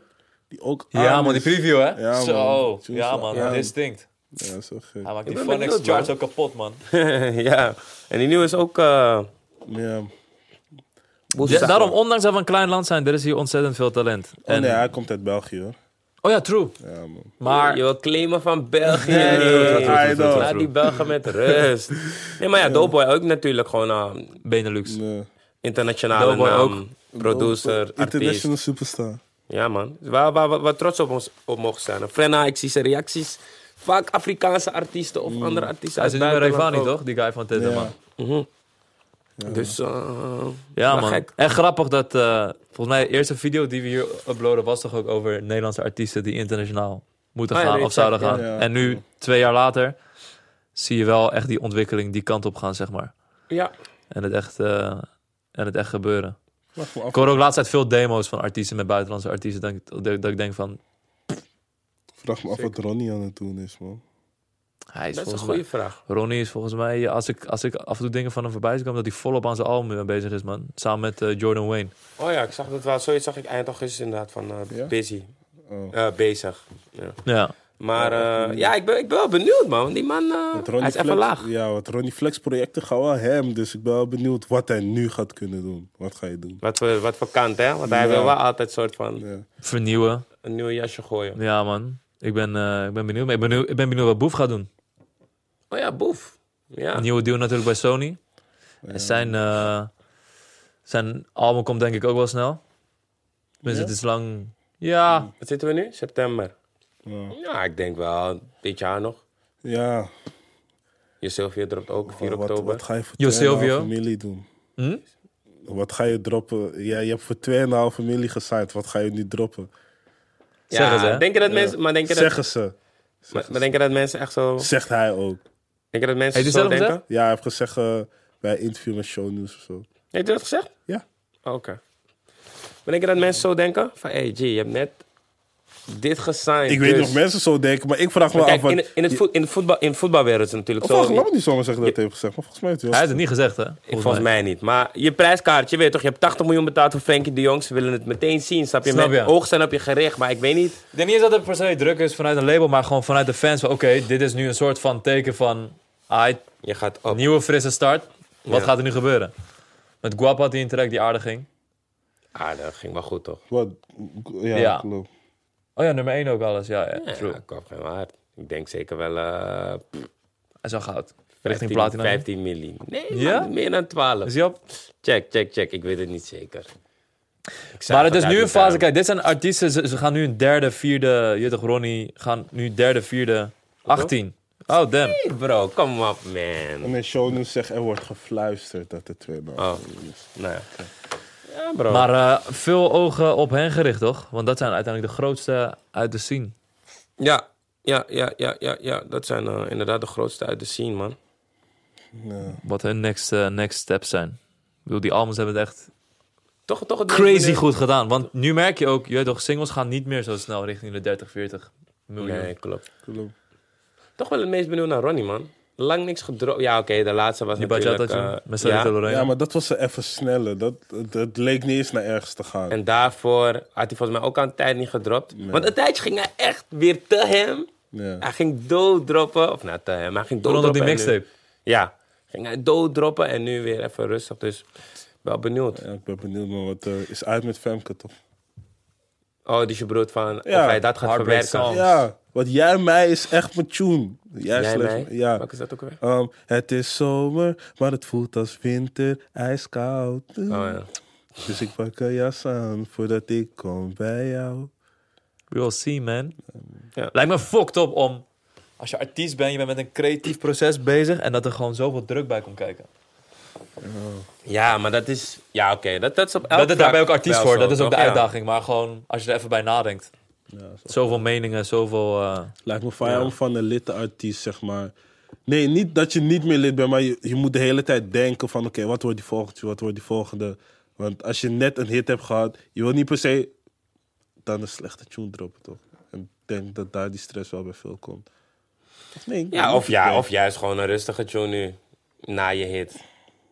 C: Die ook
B: Ja,
C: aan
B: man, die
C: is.
B: preview, hè?
C: Ah, Ja, man.
B: Zo.
C: Choose
B: Ja,
C: that.
B: man.
C: Ja.
B: Distinct.
C: Ja, zo gek.
D: Hij maakt die
A: ben benieuwd,
D: Phonex charts
A: man.
D: ook kapot, man.
A: ja. En die nieuwe is ook... eh
C: Ja. Oh,
A: Boesa.
B: Ja, daarom, ondanks dat we een klein land zijn, er is hier ontzettend veel talent.
C: Oh
B: En,
C: nee, hij komt uit België hoor.
B: oh ja, true.
C: Ja, man.
A: Maar
B: Maar
A: je wil claimen van België.
C: Nee,
A: nee.
C: I
B: true,
C: know.
B: true,
A: Laat die Belgen met rust. Nee, maar ja, Doughboy ook natuurlijk gewoon een
B: Benelux.
C: Nee.
A: internationale
B: Doughboy
A: naam.
B: ook.
A: Producer, artiest.
C: International superstar.
A: Ja, man. Waar, waar, waar, waar trots op ons op mogen zijn. Frenna, ik zie zijn reacties. Vaak Afrikaanse artiesten of andere artiesten.
B: Mm. Hij is
A: uit
B: nu bij
A: buitenland
B: Revani,
A: ook.
B: toch? Die guy van Tidder,
C: Ja.
B: man.
A: Mhm. Dus, eh
B: Ja,
A: maar
B: man.
A: gek.
B: En grappig dat, eh, volgens mij, de eerste video die we hier uploaden was toch ook over Nederlandse artiesten die internationaal moeten
A: Ah, ja,
B: gaan
A: dat
B: of zouden
A: exact,
B: gaan.
C: ja. Ja.
B: En nu, twee jaar later, zie je wel echt die ontwikkeling die kant op gaan, zeg maar.
A: Ja.
B: En het echt, eh, en het echt gebeuren.
C: Wacht maar
B: Ik
C: af.
B: hoor ook laatst uit veel demo's van artiesten met buitenlandse artiesten. Dat ik, dat, dat ik denk van,
C: Vraag me af wat Ronnie aan het doen is, man.
B: hij is
A: Dat is een
B: volgens
A: goede
B: mij...
A: vraag.
B: Ronnie is volgens mij, ja, als ik, als ik af en toe dingen van hem voorbij zie komen, dat hij volop aan zijn album eh, bezig is, man. Samen met eh, Jordan Wayne.
A: Oh ja, ik zag dat wel. Zoiets zag ik eind augustus inderdaad van eh,
C: Ja?
A: busy.
C: Oh.
A: Eh, bezig. Ja.
B: Ja.
A: Maar eh, ja, ik ben, ik ben wel benieuwd, man. Die man, eh,
C: Want
A: hij is even
C: Flex,
A: laag.
C: Ja, want Ronnie Flex projecten gaan wel hem. Dus ik ben wel benieuwd wat hij nu gaat kunnen doen. Wat ga je doen?
A: Wat voor, wat voor kant, hè? Want hij
C: Ja.
A: wil wel altijd soort van
C: Ja.
B: Vernieuwen.
A: een nieuw jasje gooien.
B: Ja, man. Ik ben, eh, ik ben benieuwd. Maar Ik ben benieuwd, ik ben benieuwd wat Boef gaat doen.
A: Oh ja, boef. Ja.
B: Een nieuwe deal natuurlijk bij Sony. En zijn, eh, zijn album komt denk ik ook wel snel. Tenminste, het is lang... Ja.
A: Wat zitten we nu? September.
C: Ja.
A: Ja, ik denk wel. Dit jaar nog.
C: ja.
A: Je Sylvia dropt ook 4
C: Oh, wat,
A: oktober.
C: wat ga je voor
B: Yo,
C: 2,5
B: Silvio.
C: familie doen?
B: Hm?
C: Wat ga je droppen? Ja, je hebt voor 2,5 miljoen gesigned. Wat ga je nu droppen?
A: ja,
B: Zeggen ze, hè?
A: Denk je dat mensen, maar denk je dat,
C: Zeggen ze.
A: maar, maar denk je dat mensen echt zo...
C: Zegt hij ook.
A: Denk je dat mensen
B: Heeft hij
A: zo
B: zelf
A: denken?
B: gezegd?
C: Ja, hij heeft gezegd eh, bij een interview met Shownieuws of zo.
A: Heeft hij dat gezegd? Oh,
C: Ja.
A: Oké. Maar denk je dat mensen zo denken? Van, hey G, je hebt net dit gesigned.
C: Ik weet niet
A: dus-
C: of mensen zo denken, maar ik vraag me
A: Maar
C: af...
A: Kijk,
C: Wat,
A: in, het- in, het voet- in, het voetbal, in de voetbalwereld is het natuurlijk
C: of volgens
A: zo.
C: mij niet zomaar zeggen dat hij heeft gezegd, maar volgens mij heeft hij
B: Hij
C: wel
B: heeft het niet gezegd, hè? Volgens,
A: Volgens, mij. niet. Maar je prijskaartje, je weet toch, je hebt 80 miljoen betaald voor Frenkie de Jong. Ze willen het meteen zien, snap je?
B: Snap
A: Met
B: je.
A: oog zijn op je gericht, maar ik weet niet.
B: Ik denk niet eens dat het per se druk is vanuit een label, maar gewoon vanuit de fans. van, Oké, dit is nu een soort van teken van... ah,
A: Je gaat op.
B: nieuwe frisse start. Wat
A: Ja.
B: gaat er nu gebeuren? Met Guap had hij een track die aardig ging.
A: Ah, dat ging wel goed, toch?
C: Wat? Ja,
B: Ja.
C: klopt.
B: Oh ja, nummer 1 ook alles. Ja, ja,
A: Ja,
B: true.
A: ik kwam geen waard. Ik denk zeker wel eh
B: Hij is al goud.
A: 15,
B: Richting platina.
A: 15 miljoen. Nee,
B: Ja?
A: man, meer dan 12.
B: Is hij op?
A: Check, check, check. Ik weet het niet zeker. Ik zou
B: Maar het is
A: vandaag
B: nu een
A: niet
B: fase.
A: aan-
B: Kijk, dit zijn artiesten. Ze, ze gaan nu een derde, vierde. Je toch, Ronnie. Gaan nu derde, vierde. 18. Oh, damn.
A: Hey, bro, come up, man.
C: En Shownieuws zegt, er wordt gefluisterd dat er 2,5
A: Oh,
C: miljoen is.
A: nou ja. Ja, bro.
B: Maar eh, veel ogen op hen gericht, toch? Want dat zijn uiteindelijk de grootste uit de scene.
A: Ja, ja, ja, ja, ja, ja. Dat zijn eh, inderdaad de grootste uit de scene, man.
C: Ja.
B: Wat hun next, eh, next steps zijn. Ik bedoel, die albums hebben het echt
A: Toch, toch het
B: crazy goed gedaan. Want nu merk je ook, je weet toch, singles gaan niet meer zo snel richting de 30, 40 miljoen.
A: Nee, klopt.
C: Klopt.
A: Toch wel het meest benieuwd naar Ronnie, man. Lang niks gedropt. Ja, oké, de laatste was
B: Die
A: natuurlijk...
B: Bachata tune
A: eh,
B: met
A: ja.
B: Sarita Lorena.
C: ja, maar dat was er even sneller. Dat, dat, dat leek niet eens naar ergens te gaan.
A: En daarvoor had hij volgens mij ook aan een tijd niet gedropt. Want een tijdje ging hij echt weer te hem.
C: Ja.
A: Hij ging dooddroppen. Of nou, te hem. Hij ging
B: Toen onder
A: dooddroppen.
B: die
A: en nu-
B: mixtape.
A: Ja. Ging hij dooddroppen en nu weer even rustig. Dus wel benieuwd.
C: Ja, ik ben benieuwd, maar wat eh, is uit met Femke toch?
A: Oh, dus je brood van
C: Ja.
A: of hij dat gaat
B: Heartbreak
A: verwerken.
B: Song.
C: Ja, want jij mij is echt mijn tune. Jij,
A: Jij
C: slechts-
A: mij?
C: Ja.
A: Welke is dat ook weer?
C: Ehm, het is zomer, maar het voelt als winter, ijskoud.
A: Oh ja.
C: Dus ik pak een jas aan voordat ik kom bij jou.
B: We will see, man.
A: Ja.
B: Lijkt me fucked op om... Als je artiest bent, je bent met een creatief proces bezig... en dat er gewoon zoveel druk bij komt kijken.
A: Ja, maar dat is... Ja, oké. Dat, dat is op elk
B: dat is
A: vlak
B: daarbij ook artiest
A: wel
B: voor,
A: zo,
B: dat is ook de
A: toch? Ja.
B: uitdaging. Maar gewoon, als je er even bij nadenkt.
C: Ja, zo.
B: Zoveel meningen, zoveel... eh,
C: Lijkt me fijn om van een litte artiest, zeg maar. Nee, niet dat je niet meer lid bent, maar je, je moet de hele tijd denken van... oké, wat wordt die volgende, wat wordt die volgende? Want als je net een hit hebt gehad, je wil niet per se dan een slechte tune droppen, toch? En ik denk dat daar die stress wel bij veel komt. Of nee, ik
A: Ja,
C: moet
A: of, ja,
C: niet
A: of juist gewoon een rustige tune nu. Na je hit.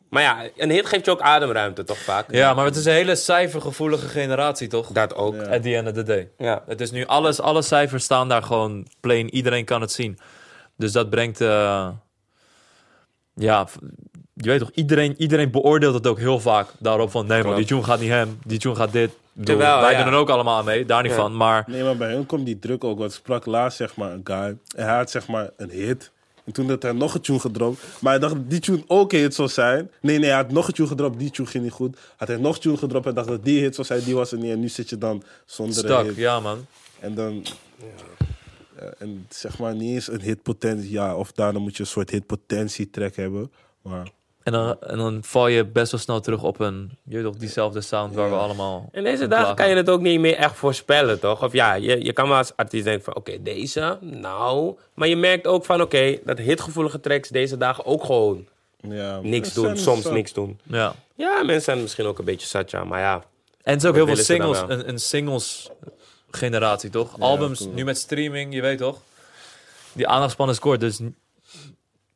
A: Maar ja, een hit geeft je ook ademruimte, toch vaak?
B: ja, maar het is een hele cijfergevoelige generatie, toch?
A: Dat ook. Ja.
C: Ja.
B: At the end of the day.
A: Ja.
B: Het is nu alles, alle cijfers staan daar gewoon plain. Iedereen kan het zien. Dus dat brengt, eh, ja, v- je weet toch, iedereen, iedereen beoordeelt het ook heel vaak daarop van, nee man,
A: Klopt.
B: die tune gaat niet hem, die tune gaat dit. Ik bedoel,
A: Terwijl,
B: wij
A: ja.
B: doen er ook allemaal aan mee, daar niet
A: Ja.
B: van, maar
C: Nee, maar bij hem komt die druk ook. Want sprak laatst zeg maar een guy. En hij had zeg maar een hit. En toen had hij nog een tune gedropt. Maar hij dacht dat die tune ook een hit zou zijn. Nee, nee, hij had nog een tune gedropt. Die tune ging niet goed. Had hij nog een tune gedropt en dacht dat die hit zou zijn. Die was er niet. En nu zit je dan zonder een
B: stak,
C: hit.
B: ja man.
C: En dan... Ja, en zeg maar niet eens een hitpotentie. Ja, of daarna moet je een soort hitpotentietrack hebben. Maar
B: En dan, en dan val je best wel snel terug op een, je weet toch, diezelfde sound waar we allemaal...
A: In deze
B: op
A: dagen
B: lagen.
A: kan je het ook niet meer echt voorspellen, toch? Of ja, je, je kan wel als artiest denken van, oké, deze, nou. Maar je merkt ook van, oké, dat hitgevoelige tracks deze dagen ook gewoon
C: ja...
A: niks
C: mensen
A: doen.
C: zijn
A: Soms
C: zat.
A: niks doen.
B: Ja.
A: Ja, mensen zijn misschien ook een beetje zat, ja. Maar ja,
B: En het is ook heel veel
A: willen ze dan
B: singles,
A: wel?
B: een, een singles generatie, toch? Albums,
C: klopt.
B: nu met streaming, je weet toch? Die aandachtspannen is kort, dus n-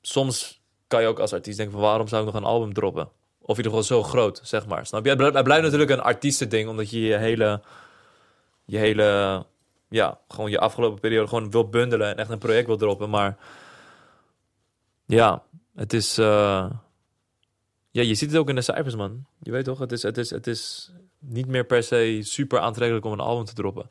B: soms kan je ook als artiest denken van waarom zou ik nog een album droppen? Of in ieder geval zo groot, zeg maar. Snap je? Het blijft, het blijft natuurlijk een artiestending, omdat je je hele, je hele, ja, gewoon je afgelopen periode gewoon wil bundelen en echt een project wil droppen. Maar ja, het is, eh, ja, je ziet het ook in de cijfers, man. Je weet toch, het is, het is, het is niet meer per se super aantrekkelijk om een album te droppen.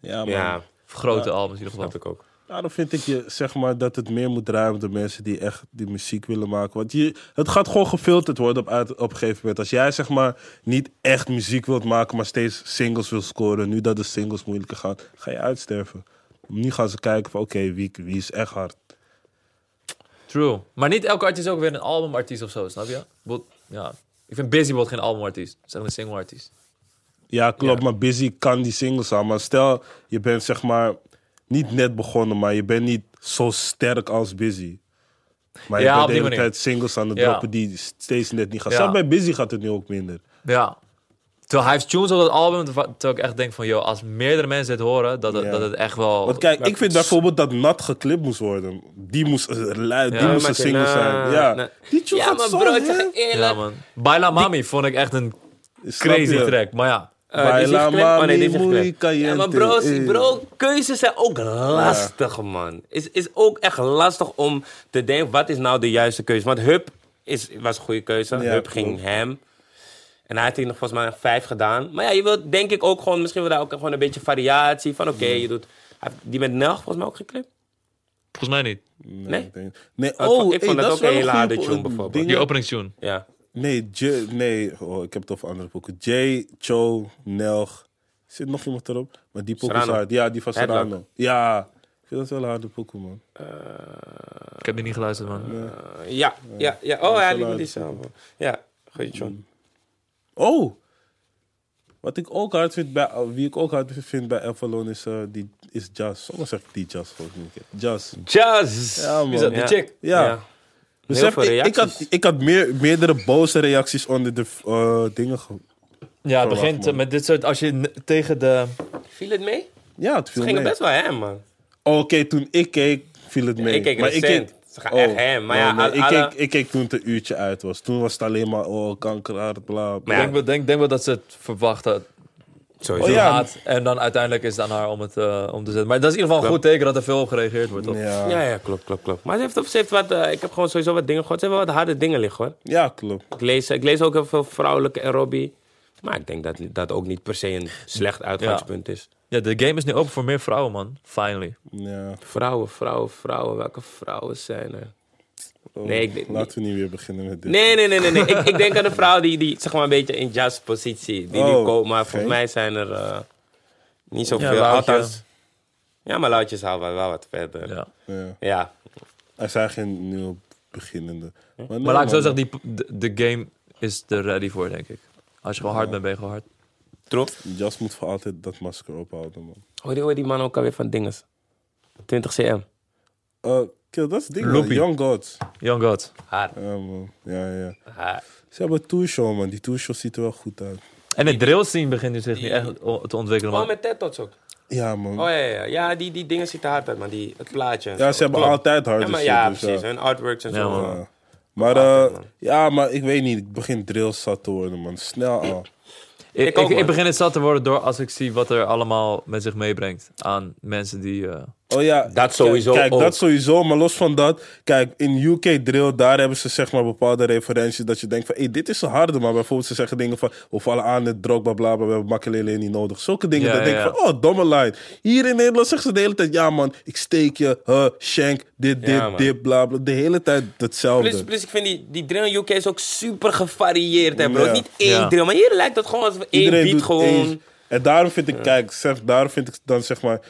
C: Ja, man.
A: ja,
B: Of grote
C: Ja,
B: albums in ieder geval.
A: snap ik ook.
C: Daarom Nou, vind ik je, zeg maar, dat het meer moet draaien op de mensen die echt die muziek willen maken. Want je, het gaat gewoon gefilterd worden op, uit- op een gegeven moment. Als jij, zeg maar, niet echt muziek wilt maken, maar steeds singles wil scoren. Nu dat de singles moeilijker gaan, ga je uitsterven. Nu gaan ze kijken van, oké, wie, wie is echt hard?
B: True. Maar niet elke artiest is ook weer een albumartiest of zo, snap je? Bijvoorbeeld- Ja. Ik vind Busy wordt geen albumartiest. Het is echt een singleartiest.
C: Ja, klopt,
B: Ja.
C: maar Busy kan die singles aan. Maar stel, je bent, zeg maar, niet net begonnen, maar je bent niet zo sterk als Busy. Maar je
B: Ja,
C: bent
B: op die
C: de hele
B: manier.
C: tijd singles aan het
B: Ja.
C: droppen die steeds net niet gaan.
B: Ja.
C: Zelfs bij Busy gaat het nu ook minder.
B: Ja. Terwijl hij heeft tunes op dat album, terwijl terwijl ik echt denk van, joh, als meerdere mensen dit horen, dat het,
C: Ja.
B: dat het echt wel...
C: Want kijk, ik vind bijvoorbeeld dat nat geklipt moest worden. Die moest, eh, lui- die
B: Ja,
C: moest
A: maar
C: een
A: oké,
C: single
A: nou,
C: zijn. Ja,
A: nou.
C: die tune
A: Ja,
C: gaat
A: maar
C: zo
A: bro, ik
C: hè?
A: zeg
B: Ja,
A: eerlijk.
B: man. Baila Mami vond ik echt een
C: Snap
B: crazy
C: je?
B: track. Maar ja,
A: Eh, die is
C: Baila
A: ingeklemd. Oh, nee, die is
C: mami,
A: ingeklemd.
C: muy caliente.
A: Ja, maar bro,
C: Eh.
A: bro, keuzes zijn ook lastig, man. Is, is ook echt lastig om te denken, wat is nou de juiste keuze? Want Hub is, was een goede keuze.
C: Ja,
A: Hub
C: klopt.
A: ging hem. En hij had hier nog volgens mij vijf gedaan. Maar ja, je wilt denk ik ook gewoon, misschien wil daar ook gewoon een beetje variatie van.
C: Hmm.
A: Oké, je doet, hij heeft die met Nelg volgens mij ook geklipt.
B: volgens mij niet.
A: Nee?
C: ik denk- Nee,
A: vond-
C: oh,
A: ik vond
C: hey,
A: dat
C: is
A: ook
C: wel
A: een hele harde
C: goeie
A: tune,
C: po-
A: bijvoorbeeld.
C: dingen.
B: Die openingstune.
A: Ja.
C: Nee, J, nee oh, ik heb het over andere pokken. Jay, Cho, Nelg. Zit nog iemand erop? Maar die pokken is
A: Serrano.
C: hard. Ja, die van
A: Headlock.
C: Serrano. Ja, ik vind dat wel een harde pokken, man.
B: Ik heb die niet geluisterd, man.
A: Eh, ja, ja, ja. Oh, ja,
C: wel
A: die met
C: uit.
A: die samen. Ja, goed, John.
C: Oh! Wat ik ook hard vind bij, wie ik ook hard vind bij Avalon is, eh, die, is Jazz. Sommigen zeggen die Jazz gewoon niet. Jazz.
A: Jazz!
C: Ja, man. Wie is dat,
B: die chick?
C: Ja.
A: Heel
C: Besef,
A: veel
C: ik, ik
A: reacties.
C: had, ik had meer, meerdere boze reacties onder de eh, dingen. ge-
B: Ja, het
C: Verwacht,
B: begint eh,
C: man.
B: met dit soort... Als je n- tegen de...
A: Viel het mee?
C: Ja, het
A: Ze
C: viel
A: gingen
C: mee. Oh,
A: best wel hem, man.
C: Oké, toen ik keek, viel het mee.
A: Ik keek recent. Ze gaan echt hem, maar
C: Oh, nee,
A: ja,
C: nee,
A: al-
C: ik,
A: alle-
C: keek, ik keek toen het een uurtje uit was. Toen was het alleen maar, oh, kankerhard, bla, bla.
A: Ja.
B: Denk, wel- denk, denk wel dat ze het verwachten.
A: Sowieso.
C: Oh ja.
B: ja. En dan uiteindelijk is het aan haar om het eh, om te zetten. Maar dat is in ieder geval een goed teken dat er veel op gereageerd wordt. Toch?
A: Ja,
C: Ja, ja.
A: ja, klopt, klopt, klopt. Maar ze heeft, op- ze heeft wat, eh, ik heb gewoon sowieso wat dingen gehoord. Ze hebben wat harde dingen liggen, hoor.
C: klopt.
A: Ik lees, ik lees ook heel veel vrouwelijke aerobie. Maar ik denk dat dat ook niet per se een slecht uitgangspunt is.
B: Ja, de game is nu open voor meer vrouwen, man. Finally.
C: Ja.
A: Vrouwen, vrouwen, vrouwen. Welke vrouwen zijn er?
C: Oh,
A: Nee, ik denk-
C: Laten we niet weer beginnen met dit.
A: Nee, nee, nee, nee. nee. ik, ik denk aan een vrouw die, die zeg maar een beetje in jazz positie. Die nu
C: Oh,
A: komt. Maar
C: oké.
A: volgens mij zijn er eh, niet zoveel.
B: Loutje.
A: Althans, ja, maar Loutjes halen wel wat verder.
B: Ja.
C: Ja.
A: ja.
C: Er zijn geen nieuwe beginnende. Maar, nee,
B: Maar laat ik zo
C: man.
B: zeggen, die, de, de game is er ready voor, denk ik. Als je gewoon hard bent, ben je gewoon hard.
A: Troep.
C: Jazz moet voor altijd dat masker ophouden, man.
A: Hoor je hoor je die man ook alweer van dinges? 20 cm.
C: Eh, kill, dat is het ding, man.
B: Loopy.
C: Young Gods.
B: Young God.
A: Haar.
C: Ja, man. Ja, ja.
A: haar.
C: Ze hebben een tour man. Die tour ziet er wel goed uit.
B: En de drill scene begint nu zich nu echt o- te ontwikkelen,
A: Oh,
B: man.
A: met TED Tots ook.
C: Ja, man.
A: Oh ja, ja, ja. Ja, die, die dingen zitten hard uit, man. Die, het plaatje. en
C: Ja,
A: zo.
C: ze hebben
A: Klopt.
C: altijd harde
A: Ja, maar,
C: shit,
A: ja
C: dus ja.
A: precies. Hun artworks en zo.
B: Ja, man.
C: Ja. Maar,
A: Altijd,
C: eh,
A: man.
C: ja, maar ik weet niet. Ik begin drill zat te worden, man. Snel al.
B: Ik,
A: Ik
B: ik,
A: ook, man.
B: ik begin het zat te worden door als ik zie wat er allemaal met zich meebrengt aan mensen die eh,
C: Oh ja.
A: Dat sowieso
C: Kijk,
A: ook.
C: dat sowieso, maar los van dat. Kijk, in UK drill, daar hebben ze zeg maar bepaalde referenties dat je denkt van, hey, dit is een harde, maar bijvoorbeeld ze zeggen dingen van, we vallen aan het droog, bla bla, bla, we hebben Makelele niet nodig. Zulke dingen,
B: Ja,
C: dan
B: ja,
C: denk je
B: ja.
C: van, oh, domme line. Hier in Nederland zeggen ze de hele tijd, ja man, ik steek je, huh, shank, dit, dit,
A: Ja, man.
C: dit, bla bla. De hele tijd hetzelfde.
A: Plus, plus ik vind die, die drill in UK is ook super gevarieerd, hè, bro.
C: Ja.
A: Niet één
B: Ja.
A: drill, maar hier lijkt het gewoon alsof één beat
C: doet
A: gewoon...
C: eens. En daarom vind ik, kijk, zeg, daarom vind ik dan zeg maar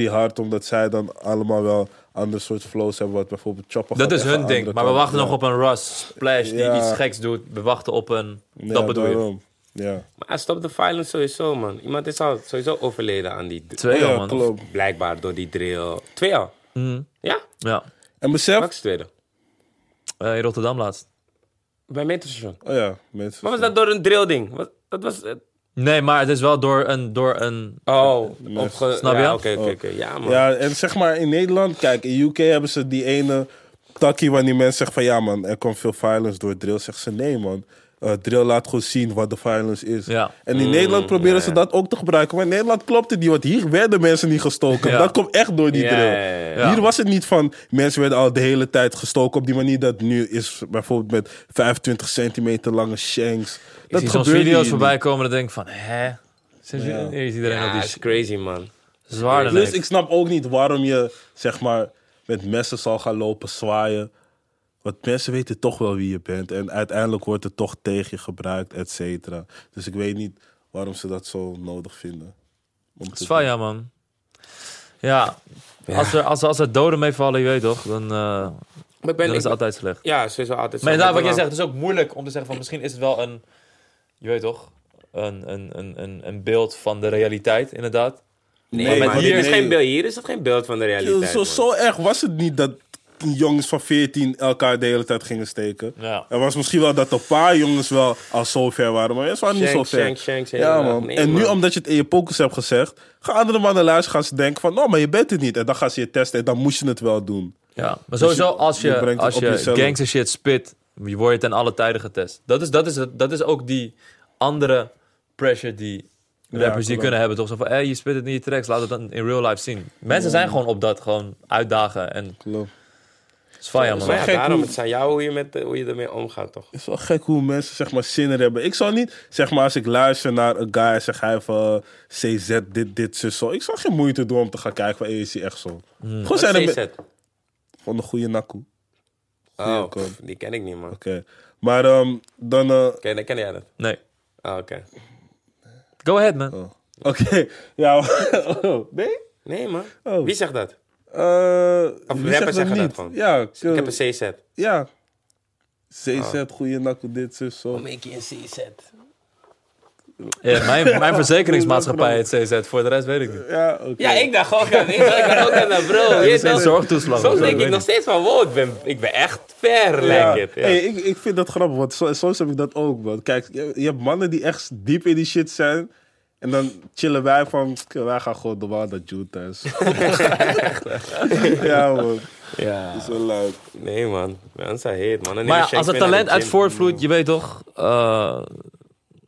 C: 7-3 hard, omdat zij dan allemaal wel ander soort flows hebben, wat bijvoorbeeld Chopper
B: Dat
C: gaat
B: is
C: echt
B: hun
C: een
B: ding.
C: andere
B: Maar we
C: kant
B: wachten
C: op.
B: nog op een Russ Splash die
C: Ja.
B: iets geks doet. We wachten op een...
C: Ja,
B: dat bedoel je.
C: daarom. Ja,
A: Maar stop the violence sowieso, man. Iemand is al sowieso overleden aan die...
B: Twee
C: ja,
B: al, Mhm. man.
C: klopt.
A: Blijkbaar door die drill. Twee al? Ja,
B: Ja.
C: En besef...
A: max tweede.
B: Eh, in Rotterdam laatst.
A: Bij metrostation.
C: Oh ja, mensen.
A: Maar was dat door een drill ding? Wat- Dat was... het-
B: Nee, maar het is wel door een... Door een
A: Oh, opge...
B: Snap
A: Ja,
B: je?
A: oké, oké, oké. Ja, man.
C: Ja, en zeg maar in Nederland, kijk, in UK hebben ze die ene takkie waar die mensen zeggen van ja man, er komt veel violence door drill. Zeggen ze nee man, Eh, drill laat gewoon zien wat de violence is.
B: Ja.
C: En in Nederland proberen ze dat ook te gebruiken, maar in Nederland klopt het niet, want hier werden mensen niet gestoken.
B: Ja.
C: Dat komt echt door die
A: Ja,
C: drill.
A: ja, ja,
B: ja.
C: Hier was het niet van mensen werden al de hele tijd gestoken op die manier dat nu is, bijvoorbeeld met 25 centimeter lange shanks.
B: ik
C: Dat
B: zie soms
C: gebeurt
B: video's
C: hier
B: voorbij komen en denk ik van... Hè? Sinds
C: Ja.
B: hier is iedereen
A: Ja,
B: op die
A: is crazy, man.
B: zwaarden
C: Plus,
B: heeft.
C: ik snap ook niet waarom je, zeg maar, met messen zal gaan lopen zwaaien. Want mensen weten toch wel wie je bent. En uiteindelijk wordt het toch tegen je gebruikt, et cetera. Dus ik weet niet waarom ze dat zo nodig vinden. Om
B: Het
C: te-
B: is wel ja, man. Ja. Als, er, als, als er doden meevallen, je weet toch, dan, eh,
A: Maar ik ben...
B: dan is
A: ik-
B: het altijd slecht.
A: Ja, sowieso altijd
B: Maar
A: zo.
B: inderdaad,
A: Ik
B: wat
A: ben
B: jij zegt, het is ook moeilijk om te zeggen van misschien is het wel een, je weet toch, een, een, een, een, een beeld van de realiteit, inderdaad.
A: Nee,
C: Nee,
A: maar
C: maar
A: hier,
C: dit-
A: is
C: nee.
A: geen beeld, hier is het geen beeld van de realiteit.
C: Zo,
A: man.
C: zo erg was het niet dat jongens van 14 elkaar de hele tijd gingen steken.
B: Ja.
C: Er was misschien wel dat een paar jongens wel al zo ver waren, maar mensen waren niet zo
A: Shanks,
C: ver.
A: shanks, shanks,
C: ja,
A: helemaal.
C: man.
A: Nee,
C: en nu,
A: man.
C: omdat je het in je pokers hebt gezegd, gaan andere mannen luisteren, gaan ze denken van, nou, maar je bent het niet. En dan gaan ze je testen en dan moest je het wel doen.
B: Ja, maar sowieso
C: Dus je-
B: als
C: je
B: je,
C: brengt het
B: als
C: op
B: je
C: jezelf.
B: gangster shit spit, je word je ten alle tijden getest. Dat is, dat is, dat is ook die andere pressure die rappers die
C: klopt.
B: kunnen hebben. Toch zo van, hey, je spit het in je tracks, laat het dan in real life zien. Mensen zijn gewoon op dat, gewoon uitdagen en
C: Klopt.
B: zwaaien,
A: Maar
B: man.
C: Zo-
A: ja,
C: Gek
A: daarom,
C: hoe-
A: het is aan jou hoe je, met, hoe je ermee omgaat, toch?
C: Het is wel gek hoe mensen zeg maar zin er hebben. Ik zou niet, zeg maar, als ik luister naar een guy, zeg hij van CZ, dit, dit, zus, zo. Ik zou geen moeite doen om te gaan kijken van, hey, is hij echt zo? Gewoon zijn er
A: Hmm. Wat
C: me-
A: CZ?
C: Van de goede nakkoe.
A: Oh,
C: kom.
A: pff, die ken ik niet, man.
C: Oké. Maar ehm, dan... eh,
A: Ken, ken jij dat?
B: Nee.
A: Ah, oké.
B: Go ahead, man.
C: oh. Oké. Ja. oh, nee?
A: Nee, man.
C: Oh.
A: Wie zegt dat?
C: Eh,
A: Of
C: wie
A: rappers
C: zegt
A: zeggen dat
C: niet?
A: gewoon.
C: Ja.
A: Ik heb een Ah. CZ.
C: Ja. CZ, goede nakkel, dit, zus, zo.
A: Kom ik je een CZ?
B: Ja, mijn, mijn verzekeringsmaatschappij heet CZ, voor de rest weet ik niet.
C: Ja, oké.
A: Ja, ik dacht ook aan, ik dacht ook aan dat, nou, bro. Je
B: Geen
A: weet toch?
B: zorgtoeslag. of
A: Soms
B: zo,
A: denk
B: weet
A: ik nog steeds van, wow, ik ben, ik ben echt ver, lijkt het. Ja.
C: Hey, ik, ik vind dat grappig, want so- soms heb ik dat ook. Man. Kijk, je, je hebt mannen die echt diep in die shit zijn. En dan chillen wij van, "K, wij gaan gewoon normaal naar June thuis. ja, man.
A: Ja.
C: Dat is wel luid.
A: Nee, man. Man, zij heet, man. En
B: Maar
A: ik
B: ja,
A: shank
B: als het
A: mee naar
B: talent
A: de
B: uit
A: gym.
B: voortvloeit, je weet toch, eh,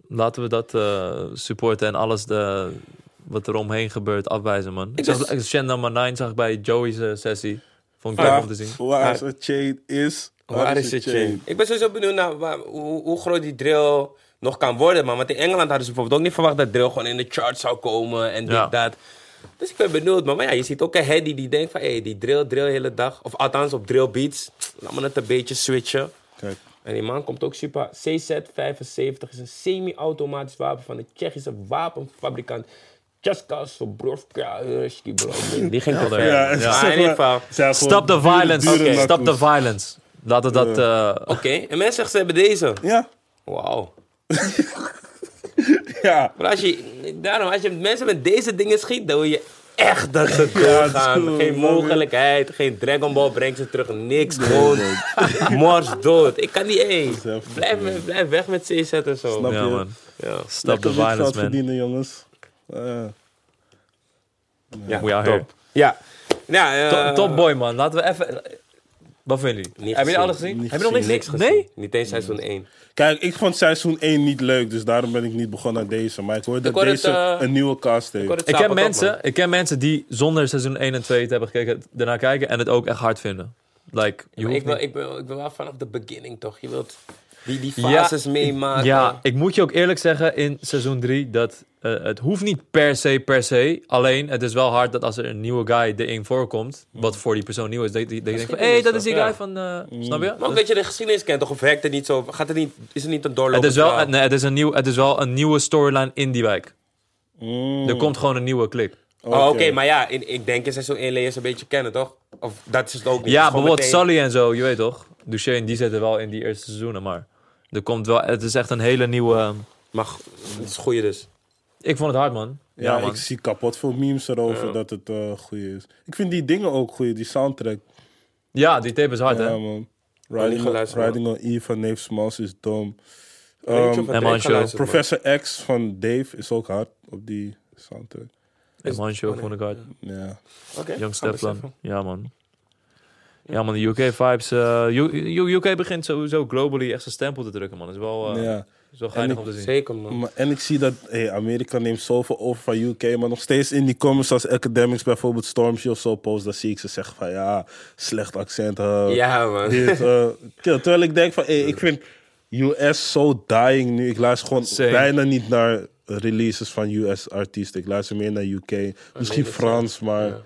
B: laten we dat eh, supporten en alles de, wat er omheen gebeurt afwijzen, man. Ik zag ik- Shen maar 9 zag ik bij Joey's eh, sessie. Vond ik leuk om te zien.
C: Waar een chain is,
A: Waar is het chain? Ik ben sowieso benieuwd naar waar- hoe, hoe groot die drill nog kan worden. Man. Want in Engeland hadden ze bijvoorbeeld ook niet verwacht dat drill gewoon in de charts zou komen en dit,
B: Ja.
A: dat. Dus ik ben benieuwd, man. Maar ja, je ziet ook een Hedy die denkt van, hé, hey, die drill, drill de hele dag. Of althans op drill beats. Laat me het een beetje switchen.
C: Kijk,
A: En die man komt ook super. CZ75 is een semi-automatisch wapen van de Tsjechische wapenfabrikant. Jaska Sobrovka. Die ging te ver.
C: Ja,
A: Ja,
C: zeg
A: in ieder
C: maar,
A: geval.
C: zijn gewoon
B: Stop the
C: dure,
B: violence.
C: dure
B: Oké, Stop the
C: nakkoes.
B: violence. Laten we dat... eh,
A: Oké, en mensen zeggen ze hebben deze.
C: Ja,
A: Wauw.
C: ja.
A: Maar als je, daarom, als je mensen met deze dingen schiet, dan wil je echt dat ze doodgaan.
C: dat is
A: geen
C: cool, man.
A: mogelijkheid, geen Dragon Ball brengt ze terug, niks. Gewoon mors dood. Ik kan niet eens.
C: is heftig,
A: Blijf, me- blijf weg met CZ en zo.
C: Snap
B: ja,
C: je?
B: man.
A: Ja,
B: Stop the
C: Lekker witgeld
B: violence, man.
C: verdienen, jongens. Eh,
A: ja
B: We are here.
A: top. Ja. ja eh,
B: Top, top boy, man. Laten we even... Wat vinden jullie?
A: Niet
B: Hebben jullie alles
A: gezien.
B: gezien?
C: Niet
B: Hebben jullie nog niks
A: Niks
B: gezien?
A: gezien.
B: Nee?
A: Niet eens seizoen 1.
C: Kijk, ik vond seizoen 1 niet leuk, dus daarom ben ik niet begonnen aan deze. Maar ik hoor dat
A: hoor het,
C: deze
A: eh,
C: een nieuwe cast heeft.
A: hoor het-
B: Ik
A: Stapelt
B: ken,
A: op,
B: mensen,
A: man.
B: ik ken mensen die zonder seizoen 1 en 2 te hebben gekeken, daarna kijken en het ook echt hard vinden. Like, je
A: Maar
B: hoeft
A: Ik wil,
B: niet-
A: ik, wil, ik wil wel vanaf de beginning toch. Je wilt die, die
B: Ja,
A: fases meemaken.
B: Ja, ik moet je ook eerlijk zeggen in seizoen 3 dat eh, het hoeft niet per se, per se. Alleen het is wel hard dat als er een nieuwe guy erin voorkomt, wat voor die persoon nieuw is, dat je dat je denkt van, hé, hey, dat is die
A: ja.
B: guy van, eh, snap je?
A: Maar ook dat je de geschiedenis kent, toch? Of werkt het niet zo? Gaat het niet, is het niet een doorloop?
B: Het is, wel, nee, het, is een nieuw, het is wel een nieuwe storyline in die wijk.
C: Mm,
B: Er komt gewoon een nieuwe klik.
A: Oh, oké,
C: oké.
A: maar ja, in, ik denk in seizoen 1 leer je ze een beetje kennen, toch? Of dat is het ook niet. Het
B: Ja,
A: is gewoon
B: bijvoorbeeld
A: meteen-
B: Sully en zo, je weet toch? Duchesne, die zitten wel in die eerste seizoenen, maar er komt wel, het is echt een hele nieuwe... ehm,
A: Maar go- het is goeie dus.
B: Ik vond het hard, man.
C: Ja,
B: Ja, man.
C: ik zie kapot veel memes erover dat het eh goed is. Ik vind die dingen ook goed, die soundtrack.
B: Ja, die tape is hard,
C: Ja,
B: hè?
C: man.
A: niet
C: Riding, on-
A: geluisterd, man.
C: Riding on Eve van Dave Smalls is dom.
A: Ik weet niet
C: Ehm,
A: of het
B: en
A: echt
B: Man Show.
A: geluisterd wordt.
C: Professor X van Dave is ook hard op die soundtrack.
B: En Man Show vond ik hard.
C: Ja.
A: Oké, gaan
B: Young
A: we
B: Stefan.
A: beseffen.
B: Ja, man. Ja, man, de UK-vibes. UK begint sowieso globally echt zijn stempel te drukken, man. Dat is wel, eh,
C: ja.
B: is wel geinig
C: En
B: om te zien.
A: Zeker, man.
C: Maar, en ik zie dat hey, Amerika neemt zoveel over van UK, maar nog steeds in die comments als academics bijvoorbeeld Stormzy of zo post, dan zie ik ze zeggen van ja, slecht accent. eh,
A: Ja, man.
C: dit, eh, kill. Terwijl ik denk van hey, ik vind US zo dying nu. Ik luister gewoon
B: Same.
C: bijna niet naar releases van US artiesten. Ik luister meer naar UK, misschien Frans, maar...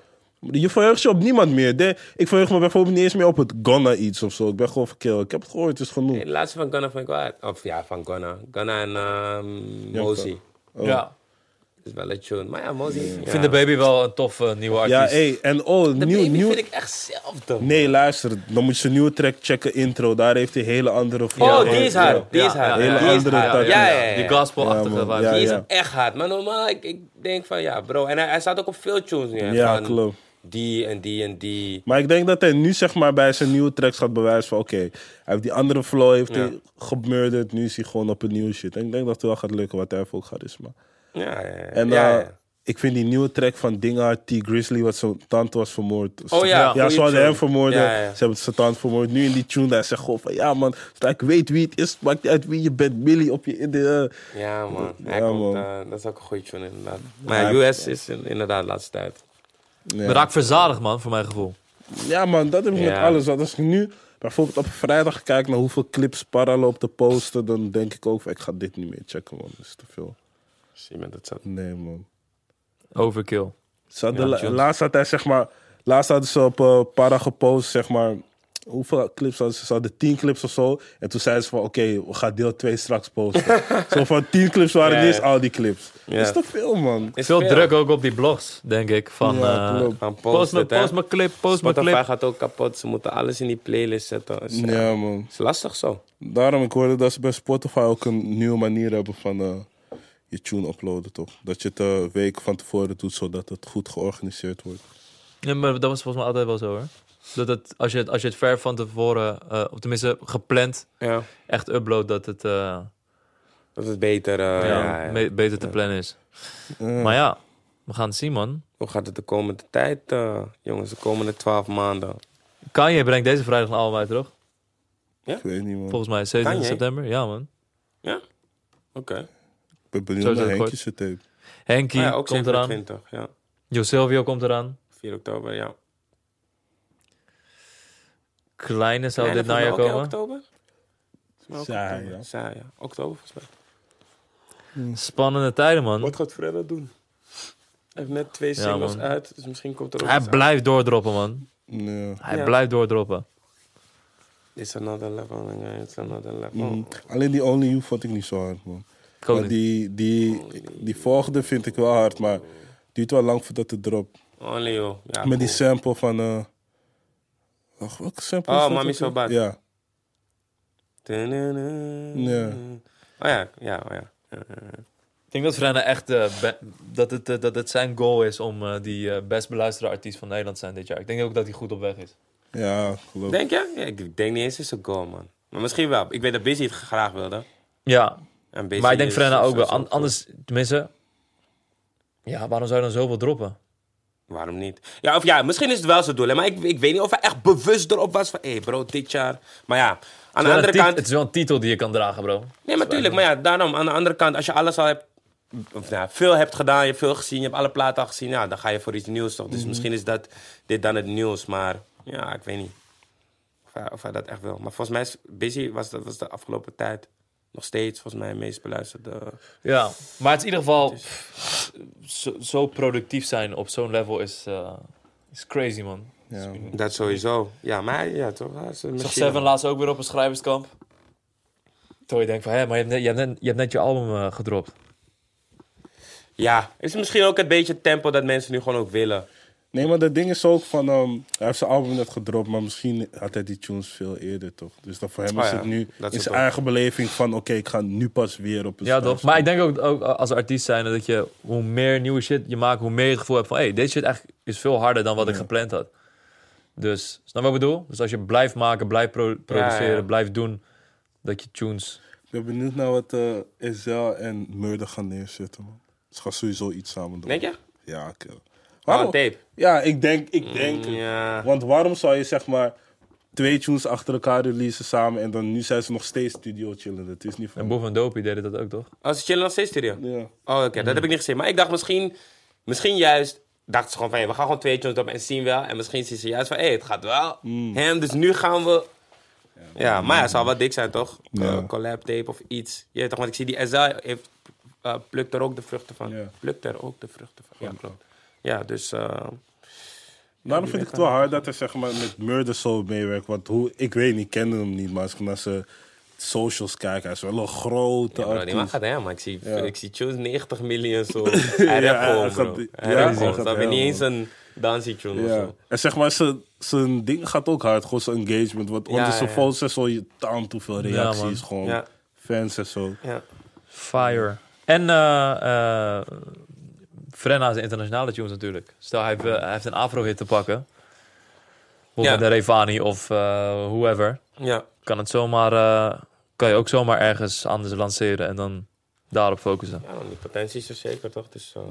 C: Je verheugt je op niemand meer. De- ik verheug me bijvoorbeeld niet eens meer op het Ghana iets of zo. Ik ben gewoon van kill. Ik heb het gehoord, het is genoeg.
A: Nee, De laatste van Ghana vond ik wel uit. Of ja, van Ghana. Ghana en ehm Mozi.
B: Ja.
A: Dat is wel een tune. Maar ja, Mozi.
B: Ik vind de baby wel een toffe eh, nieuwe artiest.
C: Ja, hey, en oh,
A: De
C: nieuw,
A: baby
C: nieuw,
A: vind ik echt zelfde. man.
C: Nee, luister. Dan moet je zijn nieuwe track checken, intro. Daar heeft hij hele andere
A: Oh,
C: Ja,
A: die is hard. Die is hard.
B: Ja, ja,
A: Die
C: hele
A: is
C: andere
A: hard.
C: tak.
A: Ja, ja, ja.
B: Die gospel-achtige
C: Ja, man.
B: vibes.
C: Ja,
A: Die
B: Die
A: is
B: is-
A: echt hard. Maar normaal, ik, ik denk van ja, bro. En hij, hij staat ook op veel tunes nu. hè,
C: Ja,
A: van
C: klopt.
A: Die en die en die.
C: Maar ik denk dat hij nu zeg maar bij zijn nieuwe tracks gaat bewijzen van... Oké, hij heeft die andere flow, heeft hij gemurderd. Nu is hij gewoon op een nieuwe shit. En ik denk dat het wel gaat lukken, wat hij heeft ook charisma.
A: Ja, ja, ja.
C: En
A: Ja,
C: eh,
A: ja.
C: ik vind die nieuwe track van Dinga T. Grizzly, wat zijn tante was vermoord.
A: Oh ja, goeie
C: ze hadden
A: tune.
C: hem vermoord.
A: Ja, ja.
C: Ze hebben zijn tante vermoord. Nu in die tune, daar zegt gewoon van... Ja man, zodra ik weet wie het is. Maakt niet uit wie je bent. Millie op je... In de, eh,
A: Ja, man. Hij
C: Ja,
A: komt,
C: man.
A: eh, dat is ook een goede tune, inderdaad. Maar ja, US is in- inderdaad de laatste tijd.
C: ja.
B: We raak verzadigd, man, voor mijn gevoel.
C: Ja, man, dat heb ik met
A: Ja.
C: alles. Want als ik nu bijvoorbeeld op vrijdag kijk naar hoeveel clips Parra loopt te posten, dan denk ik ook, van, ik ga dit niet meer checken, man. Dat is te veel.
A: Dus je bent het zo.
C: Nee, man.
B: Overkill.
C: Ze hadden
B: Ja,
C: la-
B: tunes.
C: laatst had hij, zeg maar, laatst hadden ze op eh Parra gepost, zeg maar, hoeveel clips hadden ze? Ze hadden tien clips of zo. En toen zeiden ze van, oké, we gaan deel 2 straks posten. zo van tien clips waren
A: Ja,
C: niet eens
A: ja.
C: al die clips.
A: Ja.
C: Dat is te veel, man.
A: Is
B: Veel druk ook op die blogs, denk ik. Van,
C: Ja,
B: eh,
C: klopt.
A: Gaan
B: post
A: posten,
B: mijn
A: hè.
B: post mijn clip, post mijn
A: Spotify
B: clip.
A: gaat ook kapot. Ze moeten alles in die playlist zetten. Dus, eh,
C: Ja, man.
A: is lastig zo.
C: Daarom, ik hoorde dat ze bij Spotify ook een nieuwe manier hebben van eh, je tune uploaden, toch? Dat je het eh, een week van tevoren doet, zodat het goed georganiseerd wordt.
B: Ja, maar dat was volgens mij altijd wel zo, hoor. Dat het, als, je het, als je het ver van tevoren, eh, of tenminste gepland,
A: Ja.
B: echt upload, dat het... eh,
A: Dat is beter. eh, ja,
B: ja,
A: ja.
B: me- beter te plannen is. Maar ja, we gaan het zien, man.
A: Hoe gaat het de komende tijd, eh, jongens? De komende twaalf maanden.
B: Kanje brengt deze vrijdag een album uit, toch?
C: Ik weet niet, man.
B: Volgens mij 17
A: Kanye?
B: september. Ja, man.
A: Ja? Oké.
C: Ik ben benieuwd
B: Zo
C: naar
B: is het
C: Henkje zijn tape.
B: Henky
A: Maar Ah, ja, ook
B: komt eraan.
A: 27, ja.
B: Jo Silvio komt eraan.
A: 4 oktober, ja.
B: Kleine zou
A: Nee,
B: dit
A: dat
B: najaar
A: volgens mij ook
B: komen.
A: in oktober? Volgens mij ook
C: Saai,
A: oktober.
C: ja.
A: Saai, ja. Oktober, volgens mij.
B: Spannende tijden, man.
A: Wat gaat Fredda doen? Hij heeft net twee
B: Hm? Ja,
A: singles
B: man.
A: uit, dus misschien komt er ook
B: Hij
A: iets
B: blijft doordroppen, man.
C: Ja.
B: Hij
A: Ja.
B: blijft doordroppen.
A: uit. It's another level, yeah, it's another level.
C: Mm. Alleen die Only You vond ik niet zo hard, man.
B: Oh. Ik ook
C: Maar
B: niet.
C: die, die, die volgende vind ik wel hard, maar het duurt wel lang voordat het drop.
A: Only you. Oh, Ja,
C: Met
A: cool.
C: die sample van... eh Ach, welke sample
A: Oh,
C: is dat
A: Mami
C: ook
A: So
C: weer?
A: Bad.
C: Ja.
A: Tudunun.
C: Ja.
A: Oh ja, ja, oh ja. Ja, ja, ja.
B: Ik denk dat Frenna echt eh, be- dat, het, eh, dat het zijn goal is om eh, die eh, best beluisterde artiest van Nederland te zijn dit jaar. Ik denk ook dat hij goed op weg is.
C: Ja, geloof ik.
A: Denk je? Ja, ik denk niet eens dat is een goal, man. Maar misschien wel. Ik weet dat Busy het graag wilde.
B: Ja,
A: En Busy
B: maar ik denk
A: is-
B: Frenna
A: is-
B: ook wel.
A: is
B: An- anders, tenminste, ja, waarom zou je dan zoveel droppen?
A: Waarom niet? Ja, of ja, misschien is het wel zijn doel. Hè? Maar ik, ik weet niet of hij echt bewust erop was van... Hé hey bro, dit jaar... Maar ja, aan de
B: Wel een
A: andere
B: tit-
A: kant...
B: Het is wel een titel die je kan dragen, bro.
A: Nee, maar tuurlijk. Maar ja, daarom. Aan de andere kant, als je alles al hebt... Of nou, ja, veel hebt gedaan, je hebt veel gezien, je hebt alle platen al gezien. Ja, dan ga je voor iets nieuws toch. Dus misschien is dat dit dan het nieuws. Maar ja, ik weet niet. Of hij, of hij dat echt wil. Maar volgens mij is Busy was, dat was de afgelopen tijd nog steeds volgens mij het meest beluisterde...
B: Ja, maar het is in ieder geval pff, zo, zo productief zijn op zo'n level is, eh, is crazy, man.
C: Ja, man.
A: Dat sowieso. Ja, maar hij- ja, toch? Hij is een
B: Ik zag
A: machine.
B: Seven laatst ook weer op een schrijverskamp. Toen je denkt van, hé, maar je hebt net je, hebt net, je, hebt net je album eh, gedropt.
A: Ja, is misschien ook het beetje het tempo dat mensen nu gewoon ook willen.
C: Nee, maar dat ding is ook van... ehm, hij heeft zijn album net gedropt, maar misschien had hij die tunes veel eerder, toch? Dus dan voor hem
A: Oh
C: is
A: ja,
C: het nu
A: dat is
C: in
A: het
C: zijn
A: ook.
C: eigen beleving van... Oké, ik ga nu pas weer op een
B: Ja,
C: stijl
B: toch? Dus, eh, Maar ik denk ook, ook als artiest zijn dat je hoe meer nieuwe shit je maakt, hoe meer je het gevoel hebt van, hé, hey, deze shit echt is veel harder dan wat ik gepland had. Dus, snap je wat ik bedoel? Dus als je blijft maken, blijft pro- produceren,
A: ja.
B: blijft doen, dat je tunes...
C: Ik ben benieuwd naar wat eh Ezel en Murder gaan neerzetten, man. Ze gaan sowieso iets samen doen.
A: Denk je?
C: Ja, ik... eh,
A: Oh, een tape. Mm,
C: Ja, ik denk, ik denk. het.
A: Ja.
C: Want waarom zou je zeg maar twee tunes achter elkaar releasen samen en dan nu zijn ze nog steeds studio chillen. Het is niet
B: En
C: van.
B: Boef en Dopey deden dat ook, toch?
A: Als ze chillen nog steeds studio.
C: Ja.
A: Oh, oké, dat heb ik niet gezien. Maar ik dacht misschien, misschien juist, dachten ze gewoon van, hey, we gaan gewoon twee tunes op en zien wel. En misschien zien ze juist van, hé, hey, het gaat wel.
C: Mm.
A: Hem, dus nu gaan we... Ja, maar ja, het zal wel dik zijn, toch?
C: Ja.
A: Eh, collab tape of iets. Je weet toch, want ik zie die SL heeft, eh, plukt er ook de vruchten van.
C: Ja.
A: Plukt er ook de vruchten van. Ja, klopt. Ja, dus... eh,
C: Daarom vind ik het wel hard dat hij zeg maar met Murder Soul meewerkt. Want hoe, ik weet niet, ik ken hem niet, maar als ik naar zijn socials kijk, hij is wel een grote
A: Ja, bro, die man
C: artiest.
A: gaat helemaal. Ik zie,
C: Ja.
A: ik zie tunes 90 miljoen zo. Hij
C: Ja,
A: rapt gewoon,
C: hij gaat-
A: bro.
C: ja,
A: Hij
C: hij
A: rapt gewoon.
C: gaat
A: Dat is niet
C: helemaal.
A: eens een dansie tune of
C: Ja.
A: zo.
C: En zeg maar, zijn- zijn ding gaat ook hard, gewoon zijn engagement. Want onder
A: ja,
C: zijn
A: ja.
C: foto's is al je taam toe veel
B: man.
C: reacties, gewoon
A: Ja.
C: fans en zo.
A: Ja.
B: Fire. En eh eh Frenna is een internationale tunes natuurlijk. Stel, hij heeft, eh, hij heeft een afro-hit te pakken. Bijvoorbeeld
A: Ja.
B: de Revani of eh whoever.
A: ja.
B: Kan het zomaar... eh, kan je ook zomaar ergens anders lanceren en dan daarop focussen.
A: Ja, nou, die potentie is er zeker, toch? Dus, eh,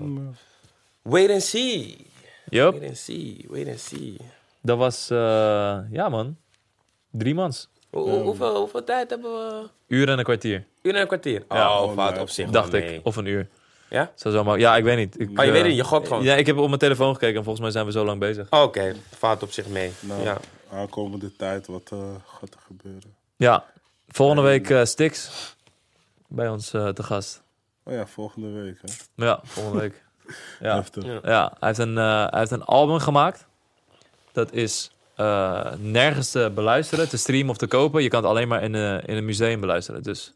A: Wait and see.
B: Yup,
A: Wait and see. Wait and see.
B: dat was... eh, ja, man. Drie mans.
A: Hoe- hoe- hoeveel, hoeveel tijd hebben we?
B: Uur en een kwartier,
A: Uur en een kwartier.
B: Ja. eh,
A: oh, wat op zich.
B: dacht
A: wel mee.
B: ik. Of een uur.
A: Ja?
B: Zou zomaar... Ja, ik weet niet. Ik,
A: Oh, je
B: eh,
A: weet het, je gokt gewoon.
B: Ja, ik heb op mijn telefoon gekeken en volgens mij zijn we zo lang bezig.
A: Oh, Oké, vaart op zich mee.
C: Nou,
A: Ja.
C: aankomende tijd, wat eh, gaat er gebeuren?
B: Ja, volgende week eh Stix bij ons eh, te gast.
C: Oh ja, volgende week, hè?
B: Ja, volgende week. Ja,
C: Heftig.
A: Ja.
B: ja hij, heeft een, eh, hij heeft een album gemaakt. Dat is eh, nergens te beluisteren, te streamen of te kopen. Je kan het alleen maar in, eh, in een museum beluisteren. Dus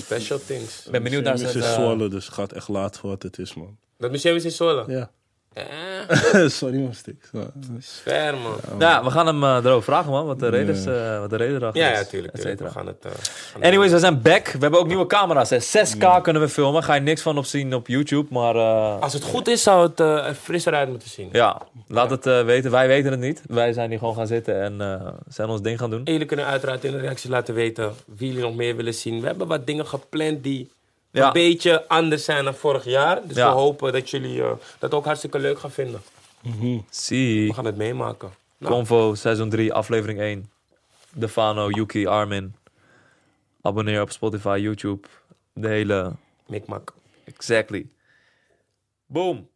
A: Special things.
B: ik ben benieuwd naar
C: Museum
B: zijn...
C: is in
B: eh,
C: Zwolle, dus het gaat echt laat voor wat het is, man.
A: Dat museum is in Zwolle.
C: Ja.
A: Eh,
C: Sorry, man, Stix. Maar-
A: ver, man.
B: ja, we gaan hem eh, erover vragen, man. Wat de reden, is, eh, wat de reden erachter
A: Ja,
B: is,
A: ja, tuurlijk.
B: et
A: tuurlijk. We
B: cetera.
A: gaan het... eh, gaan het-
B: Anyways, we zijn back. We hebben ook nieuwe camera's. Hè. 6K kunnen we filmen. Ga je niks van op zien op YouTube, maar... eh,
A: Als het goed is, zou het eh, er frisser uit moeten zien.
B: Ja, laat het eh, weten. Wij weten het niet. Wij zijn hier gewoon gaan zitten en eh, zijn ons ding gaan doen.
A: En jullie kunnen uiteraard in de reacties laten weten wie jullie nog meer willen zien. We hebben wat dingen gepland die
B: Ja.
A: een beetje anders zijn dan vorig jaar. Dus
B: Ja.
A: we hopen dat jullie eh, dat ook hartstikke leuk gaan vinden.
B: Zie.
A: We gaan het meemaken. Nou,
B: Convo, seizoen 3, aflevering 1. Defano, Yuki, Armin. Abonneer op Spotify, YouTube. De hele...
A: mikmak.
B: Exactly. Boom.